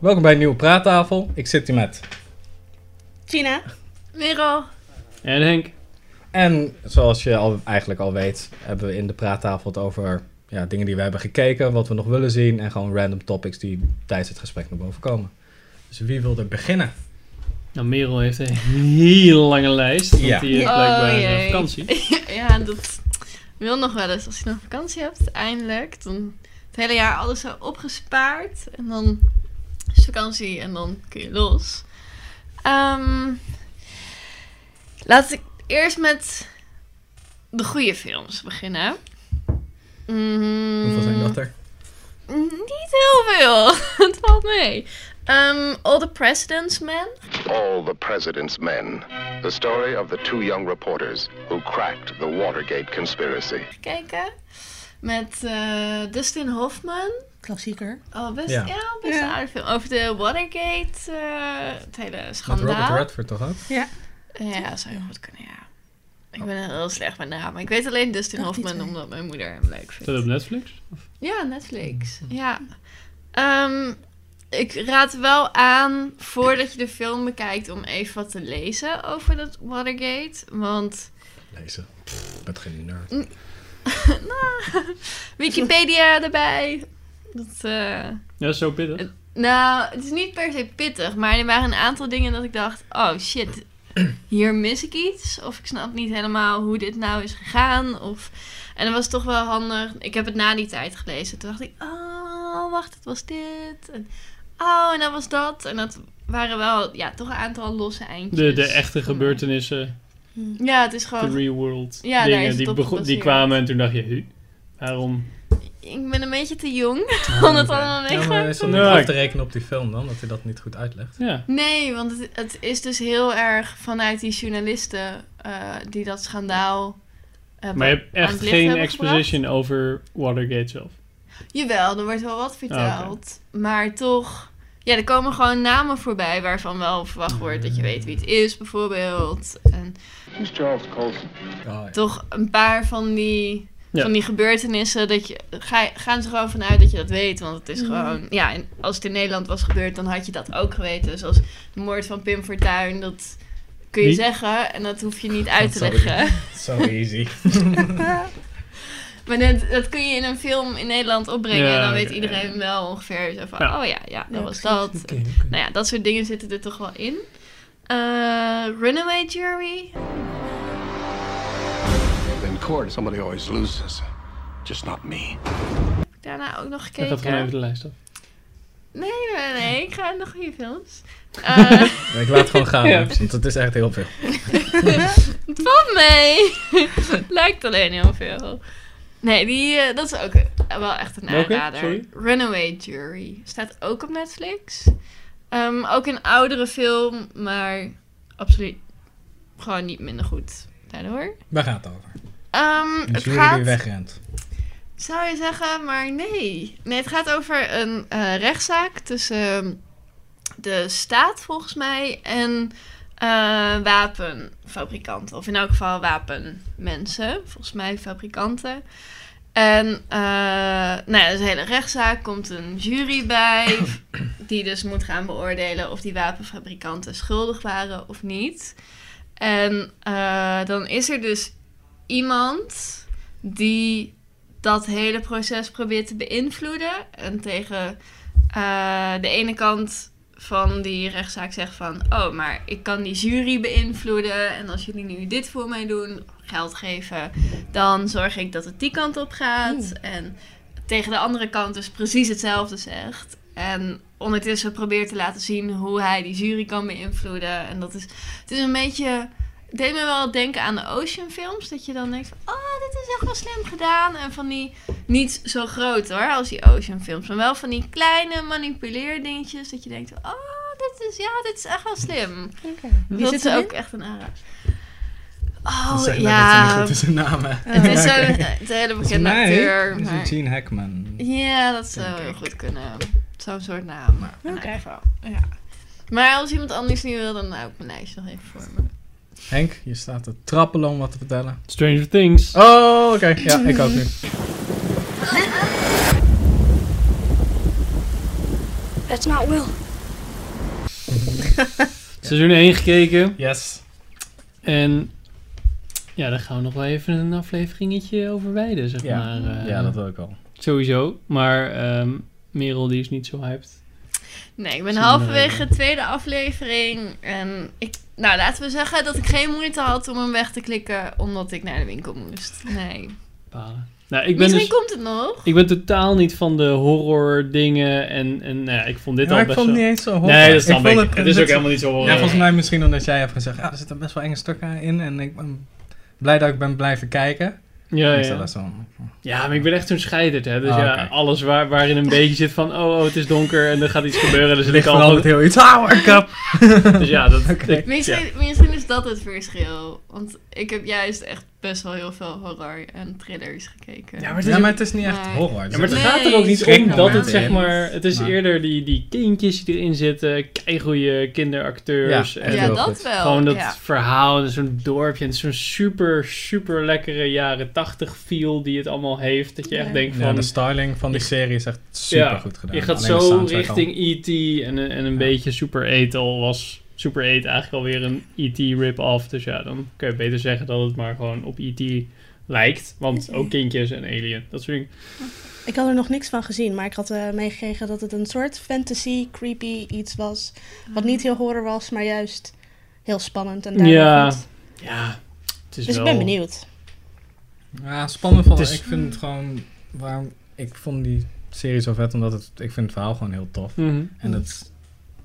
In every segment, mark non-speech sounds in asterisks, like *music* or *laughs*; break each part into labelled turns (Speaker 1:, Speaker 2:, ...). Speaker 1: Welkom bij een nieuwe praattafel. Ik zit hier met.
Speaker 2: Gina.
Speaker 3: Merel.
Speaker 4: En Henk.
Speaker 1: En zoals je al, eigenlijk al weet, hebben we in de praattafel het over ja, dingen die we hebben gekeken, wat we nog willen zien en gewoon random topics die tijdens het gesprek naar boven komen. Dus wie wil er beginnen?
Speaker 4: Nou, Merel heeft een heel lange lijst. Want
Speaker 1: Ja.
Speaker 4: die heeft
Speaker 3: Ja.
Speaker 4: blijkbaar
Speaker 3: Oh,
Speaker 4: eh,
Speaker 3: jee.
Speaker 4: vakantie.
Speaker 3: *laughs* ja, dat wil nog wel eens. Als je dan vakantie hebt, eindelijk. Dan het hele jaar alles zo opgespaard. En dan is vakantie en dan kun je los. Ehm, laat ik eerst met de goede films beginnen. Mm.
Speaker 1: Hoeveel zijn dat er?
Speaker 3: Niet heel veel. *laughs* het valt mee. Ehm, All the President's Men.
Speaker 5: All the President's Men. The story of the two young reporters who cracked the Watergate conspiracy.
Speaker 3: Kijken. Met eh, Dustin Hoffman.
Speaker 2: Klassieker.
Speaker 3: Oh, best,
Speaker 1: Ja.
Speaker 3: ja. best
Speaker 2: Ja.
Speaker 3: een aardig film. Over de Watergate, eh, het hele
Speaker 1: Met Robert
Speaker 3: schandaal.
Speaker 1: Redford toch ook?
Speaker 3: ja, zou heel goed kunnen, ja.
Speaker 1: Oh.
Speaker 3: Ik ben heel slecht met namen. Ik weet alleen Dustin
Speaker 2: Nog die
Speaker 3: Hoffman,
Speaker 2: twee.
Speaker 3: omdat mijn moeder hem leuk
Speaker 4: Is
Speaker 3: vindt.
Speaker 4: dat op Netflix?
Speaker 3: Ja, Netflix. Ja. Ehm, ik raad wel aan, voordat je de film bekijkt, om even wat te lezen over dat Watergate. Want
Speaker 1: Lezen. Pff, ik ben geen nerd.
Speaker 3: Wikipedia erbij. Dat, eh,
Speaker 4: Ja, zo pittig.
Speaker 3: Het- Nou, het is niet per se pittig, maar er waren een aantal dingen dat ik dacht: oh shit, hier mis ik iets. Of ik snap niet helemaal hoe dit nou is gegaan. Of... En dat was toch wel handig. Ik heb het na die tijd gelezen. Toen dacht ik: oh, wacht, het was dit. En, oh, en dat was dat. En dat waren wel, ja, toch een aantal losse eindjes.
Speaker 4: De, de echte gebeurtenissen,
Speaker 3: Ja, het is
Speaker 4: de
Speaker 3: gewoon.
Speaker 4: real world
Speaker 3: Oh. Ja, daar is
Speaker 4: dingen,
Speaker 3: het
Speaker 4: die,
Speaker 3: op
Speaker 4: bego- die
Speaker 3: gebaseerd.
Speaker 4: kwamen en toen dacht je, "Huh, waarom?
Speaker 3: Ik ben een beetje te jong *laughs* om het allemaal
Speaker 1: Ja,
Speaker 3: mee
Speaker 1: maar is dat
Speaker 4: Nee.
Speaker 1: niet af te rekenen op die film dan, dat hij dat niet goed uitlegt?
Speaker 4: Ja,
Speaker 3: Nee, want het, het is dus heel erg vanuit die journalisten eh, die dat schandaal. eh,
Speaker 4: maar je hebt
Speaker 3: aan
Speaker 4: echt
Speaker 3: het licht
Speaker 4: geen
Speaker 3: hebben
Speaker 4: exposition over Watergate zelf.
Speaker 3: Jawel, er wordt wel
Speaker 4: Ah,
Speaker 3: wat verteld. Maar toch, ja, er komen gewoon namen voorbij waarvan wel verwacht wordt dat je weet wie het is, bijvoorbeeld. En
Speaker 5: Who's Charles Colson?
Speaker 1: Oh, ja.
Speaker 3: toch een paar van die,
Speaker 4: Ja.
Speaker 3: van die gebeurtenissen, dat je, ga, gaan ze gewoon vanuit dat je dat weet. Want het is gewoon, ja, en als het in Nederland was gebeurd, dan had je dat ook geweten. Zoals de moord van Pim Fortuyn, dat kun je
Speaker 4: Wie?
Speaker 3: zeggen en dat hoef je niet uit te
Speaker 1: Dat zou ik-
Speaker 3: leggen.
Speaker 1: So easy.
Speaker 3: *laughs* Maar dat, dat kun je in een film in Nederland opbrengen
Speaker 4: Ja,
Speaker 3: en dan
Speaker 4: oké,
Speaker 3: weet iedereen wel ongeveer zo van,
Speaker 4: Ja.
Speaker 3: oh ja, ja, dat
Speaker 2: Ja,
Speaker 3: was dat. Nou ja, dat soort dingen zitten er toch wel in. Eh, Runaway Jury.
Speaker 5: In court, somebody always loses. Just not me.
Speaker 3: Daarna ook nog
Speaker 4: Ik had gewoon even
Speaker 3: gekeken.
Speaker 4: de lijst af.
Speaker 3: Nee, nee, nee. Ik ga naar de goede films. Eh,
Speaker 4: *laughs*
Speaker 1: Ik laat het gewoon gaan,
Speaker 4: Ja.
Speaker 1: hè, want het is echt heel veel.
Speaker 3: het valt mee. *laughs* Lijkt alleen heel veel. Nee, die, eh, dat is ook eh, wel echt een
Speaker 4: Welke?
Speaker 3: aanrader.
Speaker 4: Sorry?
Speaker 3: Runaway Jury. Staat ook op Netflix. Ehm, ook een oudere film, maar absoluut gewoon niet minder goed daardoor.
Speaker 1: Waar gaat het over?
Speaker 3: Ehm,
Speaker 1: Een
Speaker 3: het
Speaker 1: jury
Speaker 3: gaat...
Speaker 1: die wegrent.
Speaker 3: Zou je zeggen, maar nee. Nee, het gaat over een eh, rechtszaak tussen ehm, de staat volgens mij en eh, wapenfabrikanten. Of in elk geval wapenmensen, volgens mij fabrikanten. En eh, nou ja, dus een hele rechtszaak komt een jury bij, die dus moet gaan beoordelen of die wapenfabrikanten schuldig waren of niet. En eh, dan is er dus iemand die dat hele proces probeert te beïnvloeden. En tegen eh, de ene kant van die rechtszaak zegt van... oh, maar ik kan die jury beïnvloeden... en als jullie nu dit voor mij doen, geld geven... dan zorg ik dat het die kant op gaat. En tegen de andere kant dus precies hetzelfde zegt. En ondertussen probeert te laten zien hoe hij die jury kan beïnvloeden. En dat is... Het is een beetje... Het deed me wel denken aan de Ocean films. Dat je dan denkt van... oh, dit is echt wel slim gedaan. En van die... Niet zo groot hoor, als die Ocean films. Maar wel van die kleine manipuleerdingetjes. Dat je denkt, oh, dit is, ja, dit is echt wel slim.
Speaker 2: Wie
Speaker 3: dat
Speaker 2: zit
Speaker 3: is
Speaker 6: eh,
Speaker 2: erin?
Speaker 3: ook echt een aanraad. Oh,
Speaker 1: Zeg maar dat
Speaker 3: ja.
Speaker 1: ze niet goed is in namen.
Speaker 3: Het
Speaker 1: *laughs*
Speaker 3: is
Speaker 1: Ja, oké.
Speaker 3: zo'n het hele
Speaker 1: Volgens
Speaker 3: bekende
Speaker 1: mij
Speaker 3: acteur.
Speaker 1: is het
Speaker 3: maar-
Speaker 1: Gene Hackman.
Speaker 3: Ja, dat zou
Speaker 1: Denk
Speaker 3: heel
Speaker 1: ik.
Speaker 3: goed kunnen. Zo'n soort naam. Maar in
Speaker 2: Oké.
Speaker 3: elk geval, Ja. Maar als iemand anders niet wil, dan hou ik mijn lijstje nog even voor me.
Speaker 1: Henk, je staat te trappelen om wat te
Speaker 3: *laughs*
Speaker 1: vertellen.
Speaker 4: Stranger Things.
Speaker 1: Oh, oké. Ja, ik ook nu.
Speaker 6: That's not Will.
Speaker 4: Seizoen 1 gekeken.
Speaker 1: Yes.
Speaker 4: En ja, daar gaan we nog wel even een afleveringetje over wijden, zeg
Speaker 1: Ja.
Speaker 4: maar. eh,
Speaker 1: ja, dat wil ik al.
Speaker 4: Sowieso. Maar ehm, Merel die is niet zo hyped.
Speaker 3: Nee, ik ben
Speaker 4: Misschien,
Speaker 3: halverwege de tweede aflevering. En ik, nou, laten we zeggen dat ik geen moeite had om hem weg te klikken omdat ik naar de winkel moest. Nee.
Speaker 4: Balen. Nou, ik ben,
Speaker 3: Misschien
Speaker 4: dus,
Speaker 3: komt het nog.
Speaker 4: ik ben totaal niet van de horror dingen. En, en nou ja, ik vond dit
Speaker 1: Maar
Speaker 4: al
Speaker 1: ik
Speaker 4: best
Speaker 1: vond het
Speaker 4: wel...
Speaker 1: niet eens zo horror.
Speaker 4: Nee, dat snap
Speaker 1: vond
Speaker 4: ik. Het, is
Speaker 1: net
Speaker 4: ook
Speaker 1: zo-
Speaker 4: helemaal niet zo horror.
Speaker 1: Ja, volgens mij misschien omdat jij hebt gezegd, ja, er zitten best wel enge stukken in en ik ben blij dat ik ben blijven kijken.
Speaker 4: ja,
Speaker 1: Ik
Speaker 4: ja.
Speaker 1: zat daar zo-
Speaker 4: Ja, maar ik ben echt zo'n scheiderd, hè. Dus
Speaker 1: Ah,
Speaker 4: ja,
Speaker 1: oké.
Speaker 4: alles waar, waarin een beetje zit van... Oh, oh, het is donker en er gaat iets gebeuren. Dus,
Speaker 1: Er
Speaker 4: ik
Speaker 1: ligt
Speaker 4: al
Speaker 1: veranderd heel iets. Ah, wake up!
Speaker 4: van- *laughs* dus ja, dat...
Speaker 1: Oké.
Speaker 4: ik-
Speaker 3: Misschien, misschien is dat het verschil. Want ik heb juist echt best wel heel veel horror en thrillers gekeken.
Speaker 4: Ja, maar het is
Speaker 1: Ja, maar het is niet echt
Speaker 3: Maar-
Speaker 1: horror.
Speaker 4: Ja, maar het
Speaker 3: Nee, nou
Speaker 4: gaat er ook niet om
Speaker 1: schrikmomenten
Speaker 4: dat het zeg
Speaker 1: in.
Speaker 4: maar... Het is
Speaker 1: Maar-
Speaker 4: eerder die, die kindjes die erin zitten. Keigoede kinderacteurs.
Speaker 1: Ja,
Speaker 4: en
Speaker 1: echt
Speaker 3: ja
Speaker 1: heel
Speaker 3: dat
Speaker 1: goed.
Speaker 2: Oh,
Speaker 3: wel.
Speaker 4: gewoon dat
Speaker 3: ja.
Speaker 4: verhaal. en Zo'n dorpje. En zo'n super, super lekkere jaren tachtig feel die het allemaal heeft. Dat je echt
Speaker 2: Ja.
Speaker 4: denkt
Speaker 1: Ja,
Speaker 4: van...
Speaker 1: de styling van die serie is echt super goed gedaan.
Speaker 4: je gaat
Speaker 1: Alleen de
Speaker 4: zo
Speaker 1: soundtrack al.
Speaker 4: richting E.T. en, een- en een
Speaker 1: Ja.
Speaker 4: beetje Super 8 al was... Super 8 eigenlijk alweer een E.T. rip-off. Dus ja, dan kun je beter zeggen dat het maar gewoon op E.T. lijkt. Want ook kindjes en alien. Dat soort dingen.
Speaker 2: Ik had er nog niks van gezien, maar ik had eh, meegekregen dat het een soort fantasy, creepy iets was. Wat niet heel horror was, maar juist heel spannend en daardoor
Speaker 4: Ja.
Speaker 2: goed.
Speaker 4: Ja, het is
Speaker 2: Dus ik
Speaker 4: wel...
Speaker 2: ben benieuwd.
Speaker 1: Ja, spannend van.
Speaker 4: Het is-
Speaker 1: Ik vind het gewoon. Waarom, ik vond die serie zo vet omdat het, ik vind het verhaal gewoon heel tof.
Speaker 4: Mhm.
Speaker 1: En het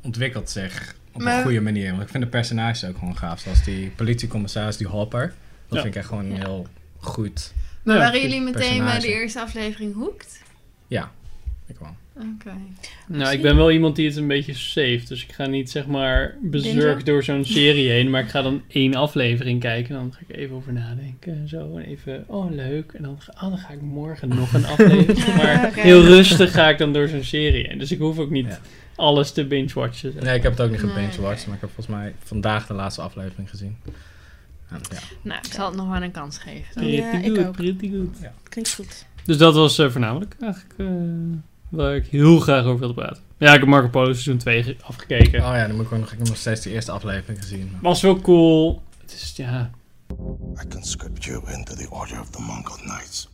Speaker 1: ontwikkelt zich op
Speaker 3: Maar-
Speaker 1: een goede manier. Want ik vind de personages ook gewoon gaaf. Zoals die politiecommissaris, die Hopper. Dat
Speaker 4: Ja.
Speaker 1: vind ik echt gewoon heel goed.
Speaker 4: Nou,
Speaker 3: Maar waren
Speaker 1: goed
Speaker 3: jullie meteen bij
Speaker 1: personage.
Speaker 3: de eerste aflevering hooked?
Speaker 1: Ik wel.
Speaker 3: Oké.
Speaker 4: Nou, ik ben wel iemand die het een beetje safe. Dus ik ga niet zeg maar bezurk
Speaker 2: Denzel?
Speaker 4: door zo'n serie heen. Maar ik ga dan één aflevering kijken. En dan ga ik even over nadenken. En zo. En even, oh leuk. En dan, ga- oh, dan ga ik morgen nog
Speaker 2: *laughs*
Speaker 4: een aflevering.
Speaker 2: Ja,
Speaker 4: maar
Speaker 2: oké.
Speaker 4: heel rustig ga ik dan door zo'n serie heen. Dus ik hoef ook niet
Speaker 1: Ja.
Speaker 4: alles te binge-watchen. zeg.
Speaker 1: Nee, ik heb het ook niet
Speaker 3: Nee.
Speaker 1: gebingewatcht. Maar ik heb volgens mij vandaag de laatste aflevering gezien. En ja.
Speaker 3: Nou, ik zal het nog wel een kans geven.
Speaker 4: Pretty
Speaker 2: Ja, ik
Speaker 4: good,
Speaker 2: ook.
Speaker 4: pretty good.
Speaker 2: Klinkt goed.
Speaker 4: Dus dat was eh, voornamelijk eigenlijk eh, waar ik heel graag over wilde praten. Ja, ik heb Marco Polo seizoen 2 ge- afgekeken.
Speaker 1: Oh ja, dan moet ik ook nog, ik heb nog steeds de eerste aflevering gezien. maar-
Speaker 4: Was wel cool. Het is, ja,
Speaker 7: I conscript you into the Order of the Mongol Knights.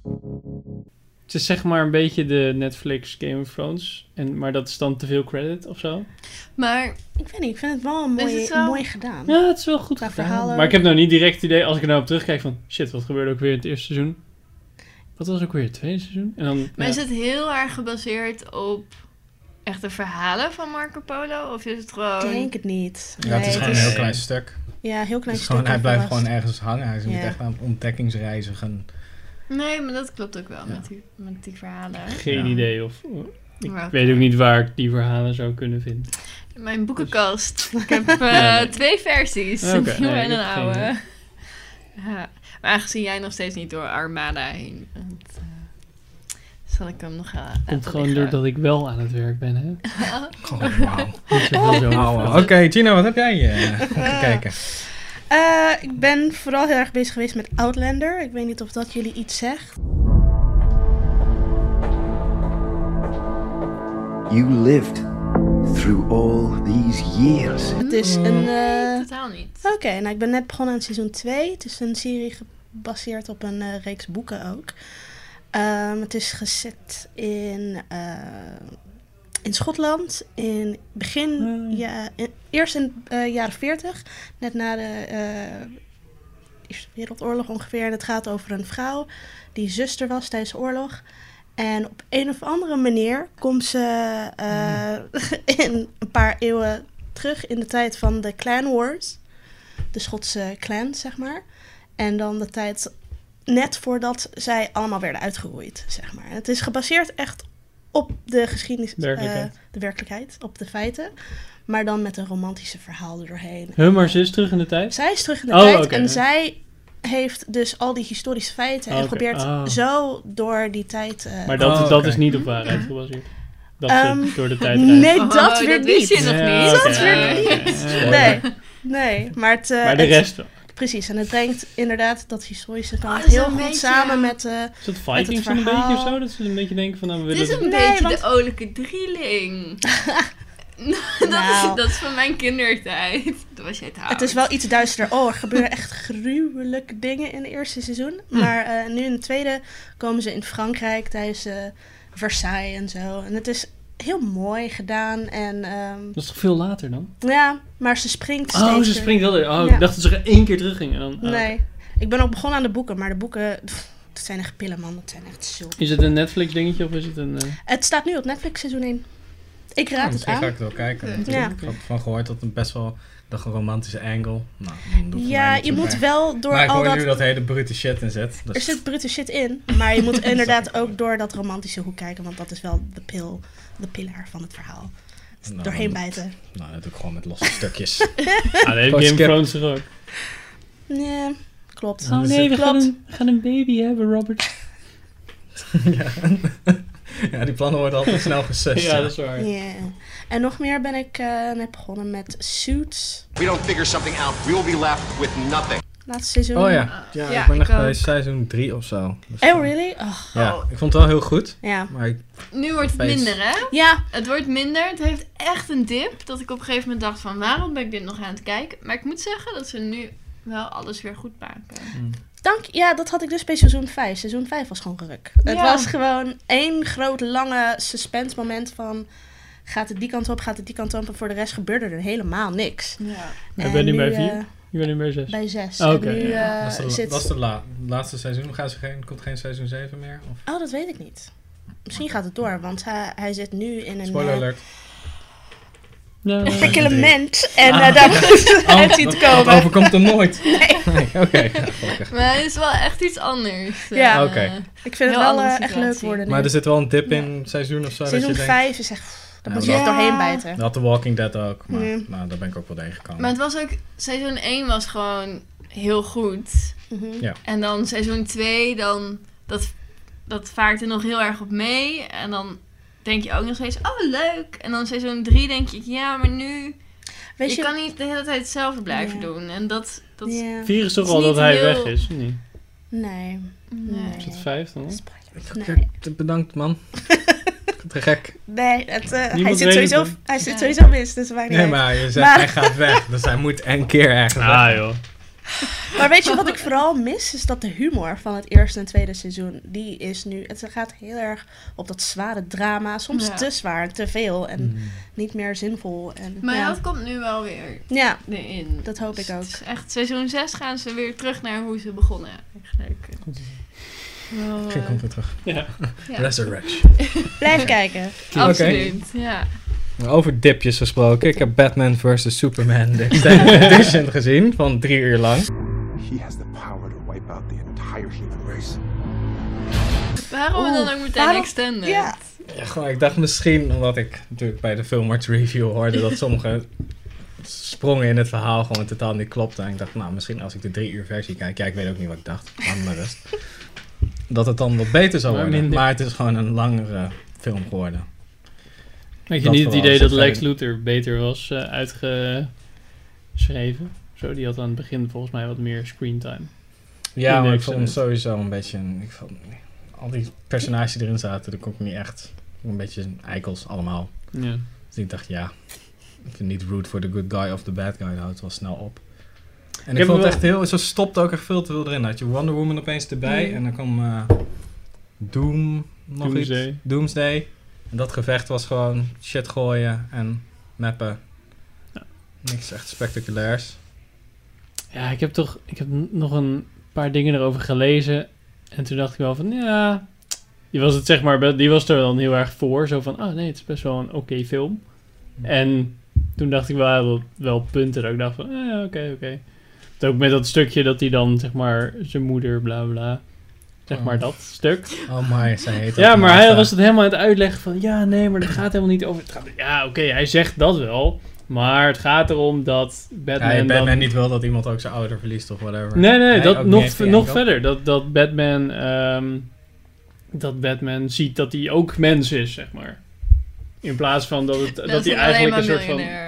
Speaker 4: Het is zeg maar een beetje de Netflix Game of Thrones. En, maar dat is dan te veel credit of zo.
Speaker 3: Maar
Speaker 2: Ik weet niet, ik vind het wel een
Speaker 3: Is
Speaker 2: mooi,
Speaker 3: het zo?
Speaker 2: mooi gedaan.
Speaker 4: Ja, het is wel goed
Speaker 2: Qua
Speaker 4: gedaan.
Speaker 2: verhaal
Speaker 4: Maar
Speaker 2: ook.
Speaker 4: ik heb nou niet direct het idee, als ik er nou op terugkijk, van shit, wat gebeurde ook weer in het eerste seizoen? Wat was ook weer het tweede seizoen? En dan,
Speaker 3: Maar
Speaker 4: ja.
Speaker 3: is het heel erg gebaseerd op echte verhalen van Marco Polo? Of is het
Speaker 2: Ik
Speaker 3: gewoon...
Speaker 2: denk het niet.
Speaker 1: Ja, het is
Speaker 2: Nee,
Speaker 1: gewoon een heel klein stuk.
Speaker 2: Ja, heel klein
Speaker 1: Het is gewoon, hij
Speaker 2: stukje
Speaker 1: blijft
Speaker 2: vast.
Speaker 1: gewoon ergens hangen. Hij is niet
Speaker 2: Ja.
Speaker 1: echt aan het ontdekkingsreizigen.
Speaker 3: Nee, maar dat klopt ook wel
Speaker 1: Ja.
Speaker 3: met, die, met die verhalen.
Speaker 4: Geen
Speaker 1: Ja.
Speaker 4: idee of... Ik
Speaker 3: Ja.
Speaker 4: weet ook niet waar ik die verhalen zou kunnen vinden.
Speaker 3: Mijn boekenkast. Ik
Speaker 4: *laughs*
Speaker 3: heb eh,
Speaker 4: Dus- Ja, nee.
Speaker 3: twee versies. *laughs*
Speaker 4: Oké,
Speaker 3: Een nieuwe
Speaker 4: nee,
Speaker 3: en
Speaker 4: ik
Speaker 3: een
Speaker 4: heb geen
Speaker 3: oude. Ja. Maar aangezien jij nog steeds niet door Armada heen bent, eh, zal ik hem nog eh, gaan
Speaker 4: Komt gewoon doordat ik wel aan het werk ben, hè?
Speaker 3: *laughs* Oh,
Speaker 1: Gewoon Oh, wauw.
Speaker 4: Niet
Speaker 2: *laughs*
Speaker 4: zoveel zo
Speaker 1: Wauw. Nou, Oké, Gino, wat heb jij eh *laughs* gekeken?
Speaker 2: Eh, ik ben vooral heel erg bezig geweest met Outlander. Ik weet niet of dat jullie iets zegt.
Speaker 8: You lived through all these years.
Speaker 2: Het is een... eh,
Speaker 3: Totaal niet.
Speaker 2: Oké, nou ik ben net begonnen aan seizoen 2. Het is een serie gebaseerd op een eh, reeks boeken ook. Ehm, het is gezet in, eh, in Schotland in begin,
Speaker 4: Hmm.
Speaker 2: ja, in- eerst in de jaren 40, net na de eh, Eerste Wereldoorlog ongeveer. En het gaat over een vrouw die zuster was tijdens de oorlog. En op een of andere manier komt ze eh, *laughs* in een paar eeuwen terug in de tijd van de Clan Wars. De Schotse clan, zeg maar. En dan de tijd net voordat zij allemaal werden uitgeroeid, zeg maar. En het is gebaseerd echt op de geschiedenis, eh,
Speaker 4: Werkelijkheid.
Speaker 2: de werkelijkheid, op de feiten. Maar dan met een romantische verhaal erdoorheen.
Speaker 4: Huh, maar ze is terug in de tijd?
Speaker 2: Zij is terug in de
Speaker 4: Oh,
Speaker 2: tijd
Speaker 4: oké.
Speaker 2: en zij heeft dus al die historische feiten en
Speaker 4: Oké,
Speaker 2: probeert
Speaker 4: ah.
Speaker 2: zo door die tijd. eh,
Speaker 4: Maar dat,
Speaker 1: Oh,
Speaker 4: dat
Speaker 1: oké.
Speaker 4: is niet op waarheid gebaseerd. Dat
Speaker 2: Ehm,
Speaker 4: ze door de tijd reizen.
Speaker 2: nee,
Speaker 3: Oh,
Speaker 2: dat weer
Speaker 3: wist
Speaker 2: niet.
Speaker 3: je nog
Speaker 4: Ja,
Speaker 3: niet.
Speaker 4: oké,
Speaker 2: Dat weer
Speaker 4: oké,
Speaker 2: niet.
Speaker 4: oké.
Speaker 2: *laughs* Nee, nee, maar het. eh,
Speaker 4: Maar de
Speaker 2: het-
Speaker 4: rest wel.
Speaker 2: Precies, en het brengt inderdaad dat historische kant
Speaker 3: Ah, dat is
Speaker 2: heel
Speaker 3: een
Speaker 2: goed
Speaker 3: beetje-
Speaker 2: samen met... eh,
Speaker 4: Is dat
Speaker 2: het
Speaker 4: Vikings dan een beetje
Speaker 2: verhaal.
Speaker 4: of zo? Dat ze een beetje denken van, nou, we
Speaker 3: Het
Speaker 4: willen...
Speaker 3: is een
Speaker 2: Nee,
Speaker 3: beetje
Speaker 2: want-
Speaker 3: de olijke
Speaker 2: *laughs*
Speaker 3: drieling. *laughs* Nou, dat,
Speaker 2: Nou.
Speaker 3: is, dat is van mijn kindertijd. Dat was jij trouwens.
Speaker 2: het is wel iets duisterder. Oh, er gebeuren echt gruwelijke dingen in het eerste seizoen. Maar eh, nu in het tweede komen ze in Frankrijk tijdens eh, Versailles en zo. En het is heel mooi gedaan. En ehm,
Speaker 4: Dat is toch veel later dan?
Speaker 2: ja, maar ze springt steeds.
Speaker 4: Oh, ze
Speaker 2: weer.
Speaker 4: springt wel weer. Oh,
Speaker 2: Ja.
Speaker 4: ik dacht dat ze één keer terugging. En dan, oh, oké.
Speaker 2: Nee, ik ben ook begonnen aan de boeken, maar de boeken, pff, dat zijn echt pillen, man. Dat zijn echt zulke.
Speaker 4: Is het een Netflix dingetje of is het een... eh,
Speaker 2: Het staat nu op Netflix seizoen 1. Ik raad het
Speaker 1: misschien ga
Speaker 2: aan.
Speaker 1: ik het wel kijken. natuurlijk.
Speaker 2: Ja.
Speaker 1: Ik had van gehoord dat een best wel dat een romantische angle. Nou, dan doe ik
Speaker 2: Ja,
Speaker 1: mij niet
Speaker 2: je
Speaker 1: zo
Speaker 2: moet
Speaker 1: bij.
Speaker 2: wel door
Speaker 1: Maar ik
Speaker 2: al
Speaker 1: hoor
Speaker 2: dat...
Speaker 1: nu dat hele brute shit in zit. Dus
Speaker 2: Er zit brute shit in, maar je moet inderdaad ook door dat romantische hoek kijken, want dat is wel de pil, de pilaar van het verhaal. Dus
Speaker 1: Nou,
Speaker 2: doorheen
Speaker 1: dan-
Speaker 2: bijten.
Speaker 1: Nou, dat doe ik gewoon met losse stukjes. *laughs*
Speaker 4: Ah, nee,
Speaker 1: Gewoon
Speaker 4: Game of
Speaker 1: skip.
Speaker 4: Thrones toch ook.
Speaker 2: Nee, klopt.
Speaker 4: Oh
Speaker 1: Dus
Speaker 4: nee, we
Speaker 2: klopt.
Speaker 4: gaan een, we gaan een baby hebben, Robert.
Speaker 1: ja. *laughs* ja, die plannen worden altijd snel gesust.
Speaker 4: Ja,
Speaker 1: ja.
Speaker 4: dat is waar.
Speaker 2: Ja. En nog meer ben ik eh, net begonnen met Suits,
Speaker 9: If we don't figure something out, we will be left with nothing.
Speaker 2: laatste seizoen.
Speaker 1: Oh
Speaker 4: Ah,
Speaker 1: ja. ja,
Speaker 3: Ja,
Speaker 1: ik ben
Speaker 3: ik
Speaker 1: nog bij
Speaker 3: ook.
Speaker 1: seizoen 3 of zo. Dus,
Speaker 2: Oh, really? Oh,
Speaker 1: ja,
Speaker 3: Oh.
Speaker 1: ik vond het wel heel goed.
Speaker 2: ja.
Speaker 1: Maar ik,
Speaker 3: Nu wordt het
Speaker 1: Face.
Speaker 3: minder, hè?
Speaker 2: Ja,
Speaker 3: Het wordt minder. Het heeft echt een dip. Dat ik op een gegeven moment dacht van waarom ben ik dit nog aan het kijken? Maar ik moet zeggen dat ze nu wel alles weer goed maken.
Speaker 2: dank, ja, dat had ik dus bij seizoen 5. Seizoen 5 was gewoon geruk. Het
Speaker 3: Ja.
Speaker 2: was gewoon één groot lange suspense moment van... Gaat het die kant op, gaat het die kant op. En voor de rest gebeurde er helemaal niks.
Speaker 3: Ja.
Speaker 4: Ik
Speaker 2: En
Speaker 4: ben nu bij
Speaker 2: eh,
Speaker 4: vier. Ik ben nu bij zes.
Speaker 2: bij zes.
Speaker 4: Oh,
Speaker 2: En
Speaker 4: oké,
Speaker 2: nu,
Speaker 4: ja.
Speaker 2: eh,
Speaker 1: dat is de,
Speaker 2: zit...
Speaker 1: dat is de la- laatste seizoen. Gaan ze geen, komt geen seizoen 7 meer? Of,
Speaker 2: Oh, dat weet ik niet. Misschien gaat het door, want hij, hij zit nu in een
Speaker 1: spoiler
Speaker 2: eh,
Speaker 1: alert.
Speaker 2: *laughs*
Speaker 4: Nou,
Speaker 2: perkament. En eh, daar *laughs* heeft hij het
Speaker 1: Dat
Speaker 2: komen.
Speaker 1: overkomt hem nooit. Nee, Oké, ja, gelukkig.
Speaker 3: Maar het is wel echt iets anders.
Speaker 2: Ja.
Speaker 3: Eh,
Speaker 1: Oké.
Speaker 2: Ik vind het
Speaker 3: Heel
Speaker 2: wel
Speaker 3: andere
Speaker 2: eh, echt
Speaker 3: situatie.
Speaker 2: leuk worden
Speaker 1: *laughs*
Speaker 2: nu.
Speaker 1: Maar er zit wel een dip in seizoen of zo. dat
Speaker 2: Seizoen
Speaker 1: je denkt,
Speaker 2: 5 is echt... pff, Daar
Speaker 1: Ja,
Speaker 2: moet je
Speaker 1: maar
Speaker 2: echt
Speaker 3: dat-
Speaker 2: doorheen bijten.
Speaker 1: dat had The Walking Dead ook, maar
Speaker 2: Mm.
Speaker 1: nou, daar ben ik ook wel tegengekomen.
Speaker 3: Maar het was ook... Seizoen 1 was gewoon heel goed.
Speaker 2: Mhm.
Speaker 3: En dan seizoen 2, dan... Dat, dat vaart er nog heel erg op mee. En dan denk je ook nog steeds... Oh, leuk! En dan seizoen 3 denk je... Ja, maar nu...
Speaker 2: Weet
Speaker 3: je,
Speaker 2: je...
Speaker 3: kan niet de hele tijd hetzelfde blijven
Speaker 2: Ja.
Speaker 3: doen. En dat... dat
Speaker 2: Ja.
Speaker 4: Vier is toch
Speaker 3: Het is
Speaker 4: al dat
Speaker 3: niet
Speaker 4: hij
Speaker 3: heel-
Speaker 4: weg is? of niet?
Speaker 2: Nee.
Speaker 3: Nee.
Speaker 4: Is het vijf dan?
Speaker 2: Spoiler. Nee.
Speaker 1: Kijk, Bedankt man. Te gek.
Speaker 2: Nee, het, eh, hij,
Speaker 4: Niemand
Speaker 2: zit
Speaker 4: weet
Speaker 2: sowieso,
Speaker 4: het, hè?
Speaker 2: hij zit
Speaker 3: Ja.
Speaker 2: sowieso mis, dus wij niet.
Speaker 1: Nee, maar je zegt
Speaker 2: Maar-
Speaker 1: hij gaat weg, dus hij moet een keer ergens weg.
Speaker 4: Ah joh.
Speaker 2: Maar weet je wat ik vooral mis? Is dat de humor van het eerste en tweede seizoen, die is nu... Het gaat heel erg op dat zware drama. Soms
Speaker 3: Ja.
Speaker 2: te zwaar en te veel en
Speaker 4: Mm.
Speaker 2: niet meer zinvol. En,
Speaker 3: Maar
Speaker 2: ja.
Speaker 3: dat komt nu wel weer
Speaker 2: ja,
Speaker 3: erin. Dus
Speaker 2: dat hoop ik
Speaker 3: het
Speaker 2: ook.
Speaker 3: is echt, seizoen 6 gaan ze weer terug naar hoe ze begonnen eigenlijk. Wel, eh,
Speaker 1: Ik kom weer terug.
Speaker 4: Ja.
Speaker 3: Ja.
Speaker 1: Resurrection.
Speaker 3: *laughs*
Speaker 2: Blijf kijken.
Speaker 3: absoluut, ja.
Speaker 1: Over dipjes gesproken. Ik heb Batman vs. Superman de Extended Edition gezien van drie uur lang.
Speaker 7: He has the power to wipe out the entire human race.
Speaker 3: Waarom we dan ook meteen
Speaker 2: waarom-
Speaker 3: extenden?
Speaker 2: Ja.
Speaker 1: Ja, gewoon, ik dacht misschien, omdat ik natuurlijk bij de Filmarts review hoorde dat sommige sprongen in het verhaal gewoon totaal niet klopten. En ik dacht, nou, misschien als ik de drie uur versie kijk, ja, ik weet ook niet wat ik dacht, laat maar rust. *laughs* Dat het dan wat beter zou
Speaker 4: Maar
Speaker 1: worden.
Speaker 4: minder.
Speaker 1: Maar het is gewoon een langere film geworden.
Speaker 4: Had je
Speaker 1: Dat
Speaker 4: niet het
Speaker 1: vooral,
Speaker 4: idee
Speaker 1: ze
Speaker 4: dat
Speaker 1: zijn-
Speaker 4: Lex Luthor beter was eh, uitgeschreven? Zo, die had aan het begin volgens mij wat meer screentime.
Speaker 1: Ja, maar ik
Speaker 4: Index
Speaker 1: vond
Speaker 4: en
Speaker 1: hem
Speaker 4: het.
Speaker 1: sowieso een beetje. een- Ik vond, al die personages die erin zaten, daar kon ik niet echt. Een beetje eikels allemaal.
Speaker 4: Ja.
Speaker 1: Dus ik dacht, ja. Ik vind niet root voor the good guy of the bad guy. Dat houdt wel snel op. En ik, vond
Speaker 4: heb
Speaker 1: het
Speaker 4: wel-
Speaker 1: echt heel. Zo stopt ook echt veel te veel erin. Dan Had je Wonder Woman opeens erbij.
Speaker 2: Mm.
Speaker 1: En dan kwam eh, Doom nog iets.
Speaker 4: Doomsday.
Speaker 1: Doomsday. En dat gevecht was gewoon shit gooien en mappen.
Speaker 4: Ja.
Speaker 1: Niks echt spectaculairs.
Speaker 4: Ja, ik heb toch ik heb n- nog een paar dingen erover gelezen. En toen dacht ik wel van, ja... Die was, het, zeg maar, be- die was er dan heel erg voor. Zo van, ah nee, het is best wel een oké film. En toen dacht ik wel, wel, wel punten dat ik dacht van, ah ja, oké, oké. Het Ook met dat stukje dat hij dan, zeg maar, zijn moeder, bla bla... Zeg maar
Speaker 1: Oh.
Speaker 4: dat stuk.
Speaker 1: Oh my, zij heet
Speaker 4: Ja,
Speaker 1: ook
Speaker 4: maar hij
Speaker 1: Martha.
Speaker 4: was het helemaal aan het uitleggen van... Ja, nee, maar het gaat helemaal niet over... Het gaat, ja, oké, hij zegt dat wel. Maar het gaat erom dat Batman...
Speaker 1: Ja, je Batman
Speaker 4: dan-
Speaker 1: niet wil dat iemand ook zijn ouder verliest of whatever.
Speaker 4: Nee, nee, dat
Speaker 1: ook
Speaker 4: nog,
Speaker 1: niet
Speaker 4: ve-
Speaker 1: echt
Speaker 4: nog
Speaker 1: die
Speaker 4: verder. Dat, dat Batman... ehm, dat Batman ziet dat hij ook mens is, zeg maar. In plaats van dat, het, dat,
Speaker 3: is
Speaker 4: hij
Speaker 3: alleen
Speaker 4: eigenlijk
Speaker 3: maar
Speaker 4: een soort van...
Speaker 3: miljonair.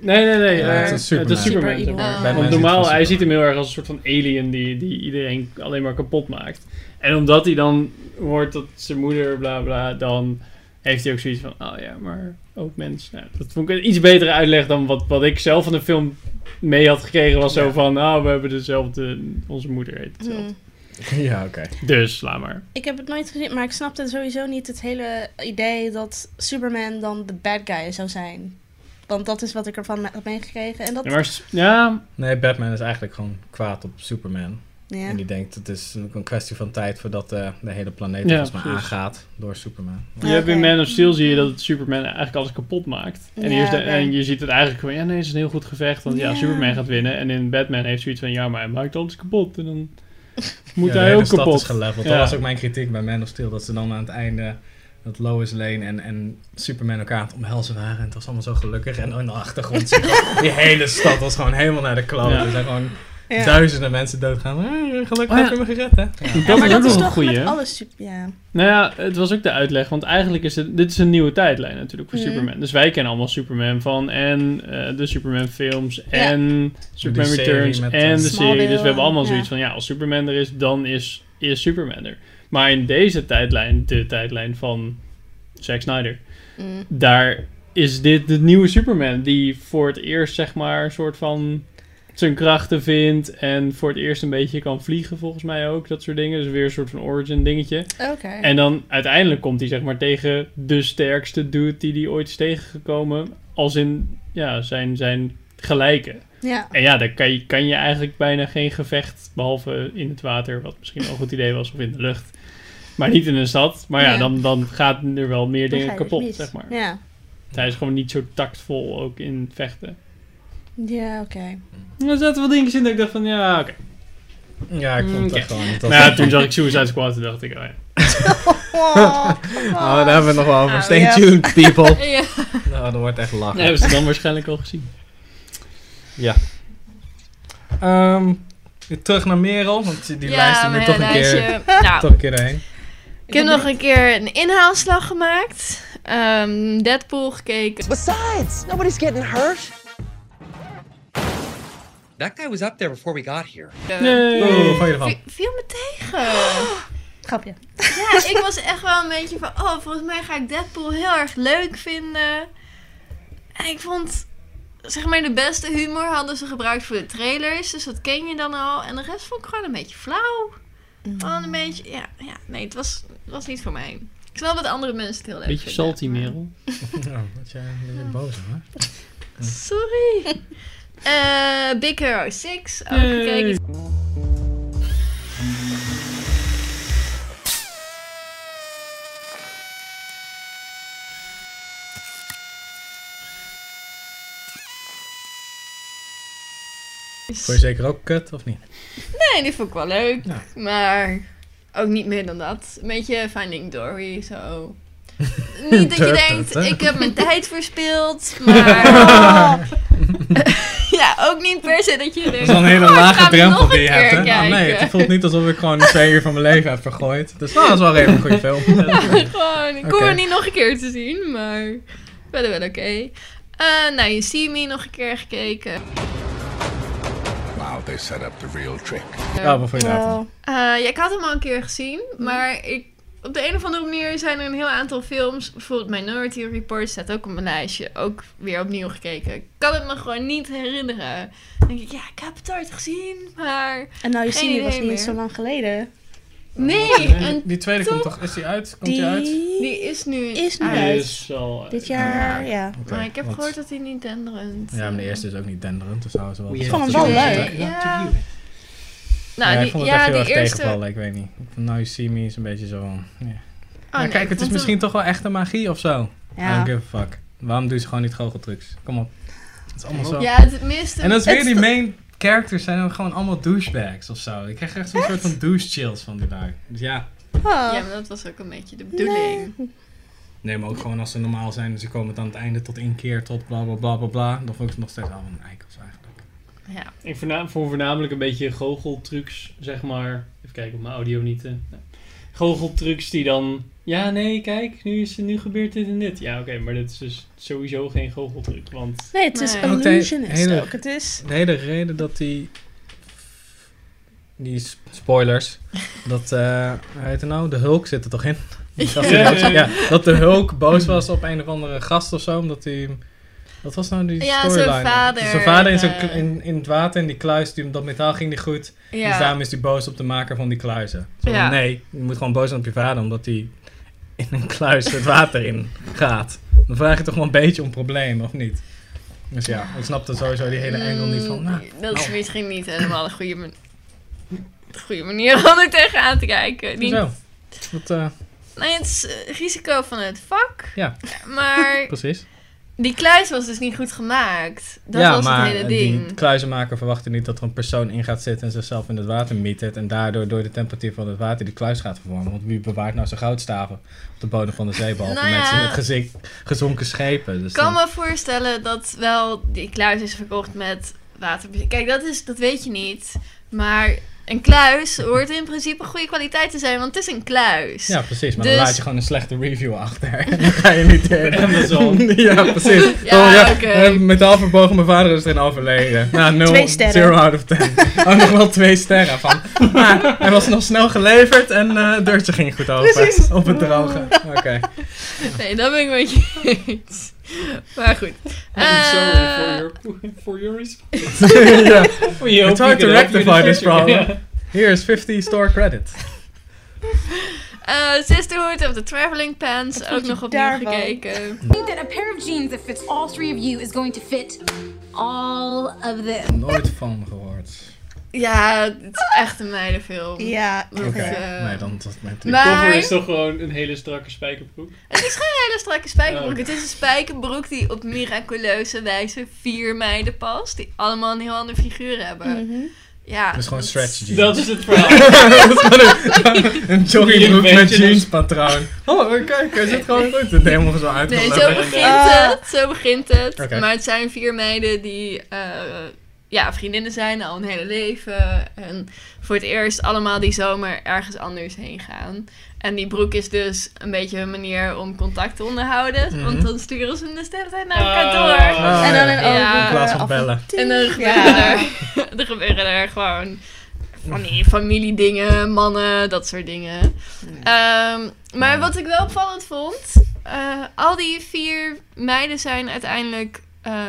Speaker 4: Nee, nee, nee.
Speaker 1: Ja, het
Speaker 4: eh,
Speaker 1: is Superman.
Speaker 4: Superman.
Speaker 2: Super
Speaker 4: zeg maar.
Speaker 1: Batman
Speaker 3: evil.
Speaker 4: Want
Speaker 1: is niet
Speaker 4: normaal,
Speaker 1: van
Speaker 4: hij ziet hem
Speaker 1: Superman.
Speaker 4: heel erg als een soort van alien die, die iedereen alleen maar kapot maakt. En omdat hij dan hoort dat zijn moeder bla bla, dan heeft hij ook zoiets van, oh ja, maar ook mens. Nou, dat vond ik een iets betere uitleg dan wat, wat ik zelf van de film mee had gekregen. Was zo
Speaker 1: Ja.
Speaker 4: van, nou, we hebben dezelfde, onze moeder heet hetzelfde.
Speaker 2: Hmm.
Speaker 1: *laughs* ja, oké.
Speaker 4: Dus, laat maar.
Speaker 2: Ik heb het nooit gezien, maar ik snapte sowieso niet het hele idee dat Superman dan de bad guy zou zijn. Want dat is wat ik ervan me- heb meegekregen. En dat,
Speaker 4: Ja, maar s- ja,
Speaker 1: Nee, Batman is eigenlijk gewoon kwaad op Superman.
Speaker 2: ja.
Speaker 1: En die denkt, het is ook een kwestie van tijd voordat eh, de hele planeet
Speaker 4: Ja,
Speaker 1: volgens mij
Speaker 4: precies.
Speaker 1: aangaat door Superman.
Speaker 4: je
Speaker 2: Ja,
Speaker 4: hebt in
Speaker 2: oké.
Speaker 4: Man of Steel zie je dat het Superman eigenlijk alles kapot maakt. En,
Speaker 2: Ja,
Speaker 4: hier is de-
Speaker 2: oké.
Speaker 4: en je ziet het eigenlijk gewoon, ja nee, het is een heel goed gevecht. Want ja,
Speaker 2: Ja.
Speaker 4: Superman gaat winnen. En in Batman heeft zoiets van, ja, maar hij maakt alles kapot.
Speaker 1: *laughs*
Speaker 4: En dan moet
Speaker 1: Ja, de
Speaker 4: hij
Speaker 1: hele
Speaker 4: ook
Speaker 1: stad
Speaker 4: kapot.
Speaker 1: is geleveld.
Speaker 4: Ja.
Speaker 1: Dat was ook mijn kritiek bij Man of Steel. Dat ze dan aan het einde dat Lois Lane en, en Superman elkaar aan het omhelzen waren. En het was allemaal zo gelukkig. En in de achtergrond zie je
Speaker 2: *laughs*
Speaker 1: gewoon- die hele stad was gewoon helemaal naar de kloot.
Speaker 4: Ja.
Speaker 1: Er zijn gewoon
Speaker 2: Ja.
Speaker 1: duizenden mensen doodgaan. Eh, gelukkig
Speaker 4: Oh ja.
Speaker 1: heb je me gered, hè? Ja.
Speaker 4: Dat
Speaker 2: maar
Speaker 4: is ook
Speaker 2: dat is
Speaker 4: nog een
Speaker 2: toch
Speaker 4: goeie.
Speaker 2: met
Speaker 4: hè?
Speaker 2: alles super. Ja.
Speaker 4: Nou ja, het was ook de uitleg. Want eigenlijk is het, dit is een nieuwe tijdlijn natuurlijk voor
Speaker 2: Mhm.
Speaker 4: Superman. Dus wij kennen allemaal Superman van. En eh, de Superman films. En Superman
Speaker 1: Die serie
Speaker 4: Returns.
Speaker 1: met,
Speaker 4: En
Speaker 1: eh,
Speaker 4: de serie. Dus we
Speaker 2: Smallville,
Speaker 4: hebben allemaal
Speaker 2: ja.
Speaker 4: zoiets van, ja, als Superman er is, dan is, is Superman er. Maar in deze tijdlijn, de tijdlijn van Zack Snyder.
Speaker 2: Mm.
Speaker 4: daar is dit de nieuwe Superman die voor het eerst zeg maar een soort van zijn krachten vindt en voor het eerst een beetje kan vliegen volgens mij ook dat soort dingen dus weer een soort van origin dingetje
Speaker 2: Oké.
Speaker 4: en dan uiteindelijk komt hij zeg maar tegen de sterkste dude die hij ooit is tegengekomen als in ja zijn zijn gelijke
Speaker 2: Ja.
Speaker 4: en ja daar kan je, kan je eigenlijk bijna geen gevecht behalve in het water wat misschien wel een goed idee was of in de lucht maar niet in een stad maar ja,
Speaker 2: Ja.
Speaker 4: Dan, dan gaat er wel meer
Speaker 2: Dan
Speaker 4: dingen
Speaker 2: ga je dus
Speaker 4: kapot
Speaker 2: mis.
Speaker 4: zeg maar
Speaker 2: Ja,
Speaker 4: hij is gewoon niet zo tactvol ook in vechten.
Speaker 2: ja oké.
Speaker 4: Er zaten wel dingetjes in dat ik dacht van, ja, oké.
Speaker 1: Ja, ik vond het echt
Speaker 4: Oké.
Speaker 1: gewoon... dat-
Speaker 4: Nou ja, toen zag ik Suicide Squad en dacht ik, oh ja.
Speaker 2: Oh, Ah,
Speaker 1: Oh, daar hebben we het nog wel over.
Speaker 3: Oh,
Speaker 1: Stay
Speaker 2: ja.
Speaker 1: tuned, people.
Speaker 3: Ja.
Speaker 1: nou, dat wordt echt lachen.
Speaker 4: Nee, hebben ze het dan waarschijnlijk al gezien.
Speaker 1: Ehm, weer terug naar Merel, want die die lijst die
Speaker 3: mijn
Speaker 1: moet toch een, keer, *laughs*
Speaker 3: lijstje. Nou,
Speaker 1: toch een keer heen.
Speaker 3: Ik heb nog een keer een inhaalslag gemaakt. Ehm, Deadpool gekeken.
Speaker 10: Besides, nobody's getting hurt.
Speaker 9: That guy was up there before we got here.
Speaker 4: Nee.
Speaker 1: Oh, van je ervan.
Speaker 3: Vi- viel me tegen.
Speaker 2: *laughs* grapje.
Speaker 3: Ja, ik was echt wel een beetje van... Oh, volgens mij ga ik Deadpool heel erg leuk vinden. En ik vond... Zeg maar, de beste humor hadden ze gebruikt voor de trailers. Dus dat ken je dan al. En de rest vond ik gewoon een beetje flauw. Gewoon een beetje... Ja, ja nee, het was, het was niet voor mij. Ik snap dat andere mensen het heel leuk
Speaker 4: Beetje
Speaker 3: vinden.
Speaker 4: salty Merel.
Speaker 1: Nou, wat jij een beetje boos hè?
Speaker 3: Sorry. Eh, Big Hero 6. Ook
Speaker 4: Yay.
Speaker 3: gekeken.
Speaker 1: Vond je zeker ook kut, of niet?
Speaker 3: Nee, die vond ik wel leuk.
Speaker 1: Ja.
Speaker 3: Maar ook niet meer dan dat. Een beetje Finding
Speaker 1: *laughs*
Speaker 3: Dory, zo. niet dat je
Speaker 1: Tut,
Speaker 3: denkt,
Speaker 1: tut, hè?
Speaker 3: ik
Speaker 1: *laughs*
Speaker 3: heb mijn tijd verspild. Maar *laughs* ja, ook niet per se dat je
Speaker 1: Dat
Speaker 3: denkt...
Speaker 1: is wel een hele
Speaker 3: oh, ik ga
Speaker 1: lage
Speaker 3: hem
Speaker 1: drempel
Speaker 3: nog
Speaker 1: die
Speaker 3: een
Speaker 1: je hebt, hè?
Speaker 3: keer
Speaker 1: Nou, nee,
Speaker 3: kijken.
Speaker 1: het voelt niet alsof ik gewoon twee uur van mijn leven heb vergooid. Dus nou, dat is wel even een goede *laughs* film.
Speaker 3: *laughs* Gewoon, ik
Speaker 1: Oké.
Speaker 3: hoor niet nog een keer te zien, maar verder wel oké. Eh, nou, je See Me nog een keer gekeken.
Speaker 5: Wow, they set up the real trick.
Speaker 1: Ja, wat vond je daarvan?
Speaker 3: Eh, ja, ik had hem al een keer gezien, maar ik, op de een of andere manier zijn er een heel aantal films. Bijvoorbeeld Minority Report staat ook op mijn lijstje. Ook weer opnieuw gekeken. Ik kan het me gewoon niet herinneren. Dan denk ik, ja, ik heb het ooit gezien, maar...
Speaker 2: En nou, je
Speaker 3: Geen
Speaker 2: ziet, die was
Speaker 3: idee
Speaker 2: niet
Speaker 3: meer.
Speaker 2: zo lang geleden.
Speaker 3: Nee,
Speaker 1: Die,
Speaker 3: en
Speaker 1: die tweede komt
Speaker 3: toch-
Speaker 1: toch, is die uit? Komt die,
Speaker 2: Die
Speaker 1: uit?
Speaker 3: die is nu
Speaker 2: Is nu
Speaker 3: uit.
Speaker 2: uit.
Speaker 4: Is al...
Speaker 2: dit jaar, ja.
Speaker 1: Oké,
Speaker 3: Maar ik heb
Speaker 1: want-
Speaker 3: gehoord dat hij niet denderend... eh,
Speaker 1: Ja, maar de eerste is ook niet denderend, dus zouden ze wel...
Speaker 2: vond hem wel leuk.
Speaker 3: Ja.
Speaker 1: Nou,
Speaker 3: Nou,
Speaker 1: ja, ik
Speaker 3: die,
Speaker 1: vond het
Speaker 3: ja,
Speaker 1: echt heel
Speaker 3: die
Speaker 1: erg
Speaker 3: eerste...
Speaker 1: tegenvallen, ik weet niet. Nou, You See Me is een beetje zo... van, ja.
Speaker 3: Oh,
Speaker 1: maar
Speaker 3: nee,
Speaker 1: kijk,
Speaker 3: ik
Speaker 1: het is
Speaker 3: vond
Speaker 1: misschien toch wel echte magie of zo. I
Speaker 2: Ja.
Speaker 1: don't give a fuck. Waarom doen ze gewoon niet goocheltrucs? Kom op. Het is allemaal zo.
Speaker 3: Ja, het miste...
Speaker 1: En dat is
Speaker 2: Het
Speaker 1: weer
Speaker 2: is
Speaker 1: die
Speaker 2: toch-
Speaker 1: main characters zijn ook gewoon allemaal douchebags of zo. Ik krijg echt zo'n soort van douche chills van die lui. Dus ja.
Speaker 2: Oh.
Speaker 3: Ja, maar dat was ook een beetje de bedoeling.
Speaker 1: Nee, maar ook gewoon als ze normaal zijn en ze komen het aan het einde tot één keer tot bla bla bla bla bla. Dan vond ik ze nog steeds allemaal een eikels eigenlijk.
Speaker 3: Ja.
Speaker 4: Ik voorna- vond voornamelijk een beetje goocheltrucs, zeg maar. Even kijken of mijn audio niet... eh, nou. goocheltrucs die dan... Ja, nee, kijk, nu, is, nu gebeurt dit en dit. Ja, oké, maar dit is dus sowieso geen goocheltruc, want... *laughs*
Speaker 2: Nee, het is
Speaker 3: Nee.
Speaker 1: Ook de
Speaker 2: illusionist
Speaker 1: hele-
Speaker 2: ook. Het is...
Speaker 1: De hele reden dat die... Die s-
Speaker 3: *laughs*
Speaker 1: spoilers. Dat, eh hoe heet het nou? De Hulk zit er toch in? Dat, hij
Speaker 4: Ja.
Speaker 1: boos- ja, dat de Hulk boos was op een of andere gast of zo. Omdat hij... hem- Wat was nou die
Speaker 3: Ja, zijn
Speaker 1: storyline?
Speaker 3: vader,
Speaker 1: Zijn vader in, zijn,
Speaker 3: eh,
Speaker 1: kl- in, in het water, in die kluis, die, dat metaal ging niet goed. Dus
Speaker 3: Ja.
Speaker 1: daarom is hij boos op de maker van die kluizen. Zo van,
Speaker 3: Ja.
Speaker 1: Nee, je moet gewoon boos zijn op je vader omdat hij in een kluis het water in gaat. Dan vraag je toch wel een beetje om problemen, of niet? Dus ja, ik snapte sowieso die hele engel niet van. Nou,
Speaker 3: Mm, dat is misschien niet helemaal een goede, man- de goede manier om er tegenaan te kijken. Niet,
Speaker 1: zo. Dat, eh,
Speaker 3: nee, het is eh, risico van het vak.
Speaker 1: Ja.
Speaker 3: Maar
Speaker 1: *laughs* precies.
Speaker 3: die kluis was dus niet goed gemaakt. Dat
Speaker 1: ja,
Speaker 3: was
Speaker 1: maar
Speaker 3: het hele
Speaker 1: eh,
Speaker 3: ding.
Speaker 1: die kluizenmaker verwachtte niet dat er een persoon in gaat zitten en zichzelf in het water mietert. En daardoor door de temperatuur van het water die kluis gaat verwarmen. Want wie bewaart nou zijn goudstaven op de bodem van de zee? Behalve
Speaker 3: Nou ja.
Speaker 1: mensen met gezink- gezonken schepen. Dus
Speaker 3: Ik kan
Speaker 1: dan-
Speaker 3: me voorstellen dat wel die kluis is verkocht met water. Kijk, dat, is, dat weet je niet. Maar een kluis hoort in principe goede kwaliteit te zijn, want het is een kluis.
Speaker 1: Ja, precies. Maar
Speaker 3: Dus-
Speaker 1: dan laat je gewoon een slechte review achter. En dan ga je niet in.
Speaker 4: Amazon.
Speaker 1: *laughs* ja, precies.
Speaker 3: Ja,
Speaker 1: Oh,
Speaker 3: oké.
Speaker 1: eh, Metaal verbogen, mijn vader is erin overleden. Nou, nul,
Speaker 2: Twee sterren.
Speaker 1: Zero out of ten. Oh, nog wel twee sterren van. Maar hij was nog snel geleverd en eh, het deurtje ging goed open.
Speaker 2: Precies.
Speaker 1: Op het droge. Oké.
Speaker 3: *laughs* Nee, dat ben ik met je eens. Maar goed.
Speaker 4: I'm sorry for
Speaker 3: Eh,
Speaker 4: your, for your response.
Speaker 1: ja.
Speaker 4: We hope
Speaker 1: It's hard to
Speaker 4: we can help you in the
Speaker 1: rectify this
Speaker 4: future.
Speaker 1: problem.
Speaker 4: Ja.
Speaker 1: Here is 50 store credit.
Speaker 3: eh, Sisterhood of the Traveling Pants,
Speaker 2: vond
Speaker 3: ook
Speaker 2: je
Speaker 3: nog opnieuw
Speaker 2: daarvan? *laughs*
Speaker 3: gekeken.
Speaker 11: that a pair of jeans that fits all three of you is going to fit all of them.
Speaker 1: Nooit van gehoord.
Speaker 3: Ja, het is echt een meidenfilm.
Speaker 2: Ja,
Speaker 3: Dat,
Speaker 1: Oké.
Speaker 3: eh,
Speaker 1: Nee, dan was mijn
Speaker 4: De
Speaker 1: truc.
Speaker 3: Maar
Speaker 4: cover is toch gewoon een hele strakke spijkerbroek.
Speaker 3: het is geen hele strakke spijkerbroek.
Speaker 4: Oh, oké.
Speaker 3: Het is een spijkerbroek die op miraculeuze wijze vier meiden past. Die allemaal een heel ander figuur hebben.
Speaker 2: mhm.
Speaker 3: Ja.
Speaker 1: Dat is gewoon
Speaker 3: dat-
Speaker 1: stretch jeans.
Speaker 4: Dat is het
Speaker 2: *laughs*
Speaker 4: verhaal.
Speaker 1: Dat is gewoon *laughs* een, een joggingbroek
Speaker 4: Hier een
Speaker 1: met
Speaker 4: beetje
Speaker 1: jeans patroon. Oh, kijk, hij zit gewoon goed. Het is helemaal zo
Speaker 3: Nee,
Speaker 1: uitgelopen.
Speaker 3: zo
Speaker 4: leuk.
Speaker 3: begint
Speaker 2: Ah.
Speaker 3: het. Zo begint het.
Speaker 1: Oké.
Speaker 3: Maar het zijn vier meiden die eh, ja, vriendinnen zijn al hun hele leven. En voor het eerst allemaal die zomer ergens anders heen gaan. En die broek is dus een beetje hun manier om contact te onderhouden.
Speaker 1: Mhm.
Speaker 3: Want dan sturen ze hem dus de hele tijd naar
Speaker 4: Ah.
Speaker 3: elkaar door.
Speaker 1: Ah,
Speaker 2: en dan
Speaker 1: ja.
Speaker 2: een andere
Speaker 3: Ja. In
Speaker 1: plaats van
Speaker 2: af-
Speaker 1: bellen.
Speaker 3: En dan gebeuren,
Speaker 2: Ja.
Speaker 3: er, *laughs* er gebeuren er gewoon van die familiedingen, mannen, dat soort dingen. Ehm, maar wat ik wel opvallend vond, eh, al die vier meiden zijn uiteindelijk eh,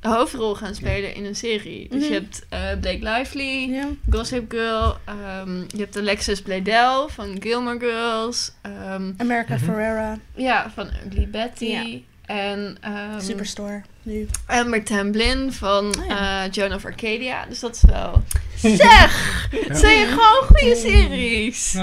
Speaker 3: de hoofdrol gaan spelen in een serie. Dus je
Speaker 2: Mhm.
Speaker 3: hebt eh, Blake Lively,
Speaker 2: Ja.
Speaker 3: Gossip Girl, ehm, je hebt Alexis Bledel van Gilmore Girls, ehm,
Speaker 2: America
Speaker 1: Mhm.
Speaker 2: Ferrera,
Speaker 3: ja, van Ugly Betty.
Speaker 2: Ja.
Speaker 3: En, ehm,
Speaker 2: Superstore, nu.
Speaker 3: Amber Tamblyn van
Speaker 2: Oh
Speaker 3: eh, Joan of Arcadia. Dus dat is wel... Zeg! Het zijn gewoon goede series.
Speaker 1: Oh,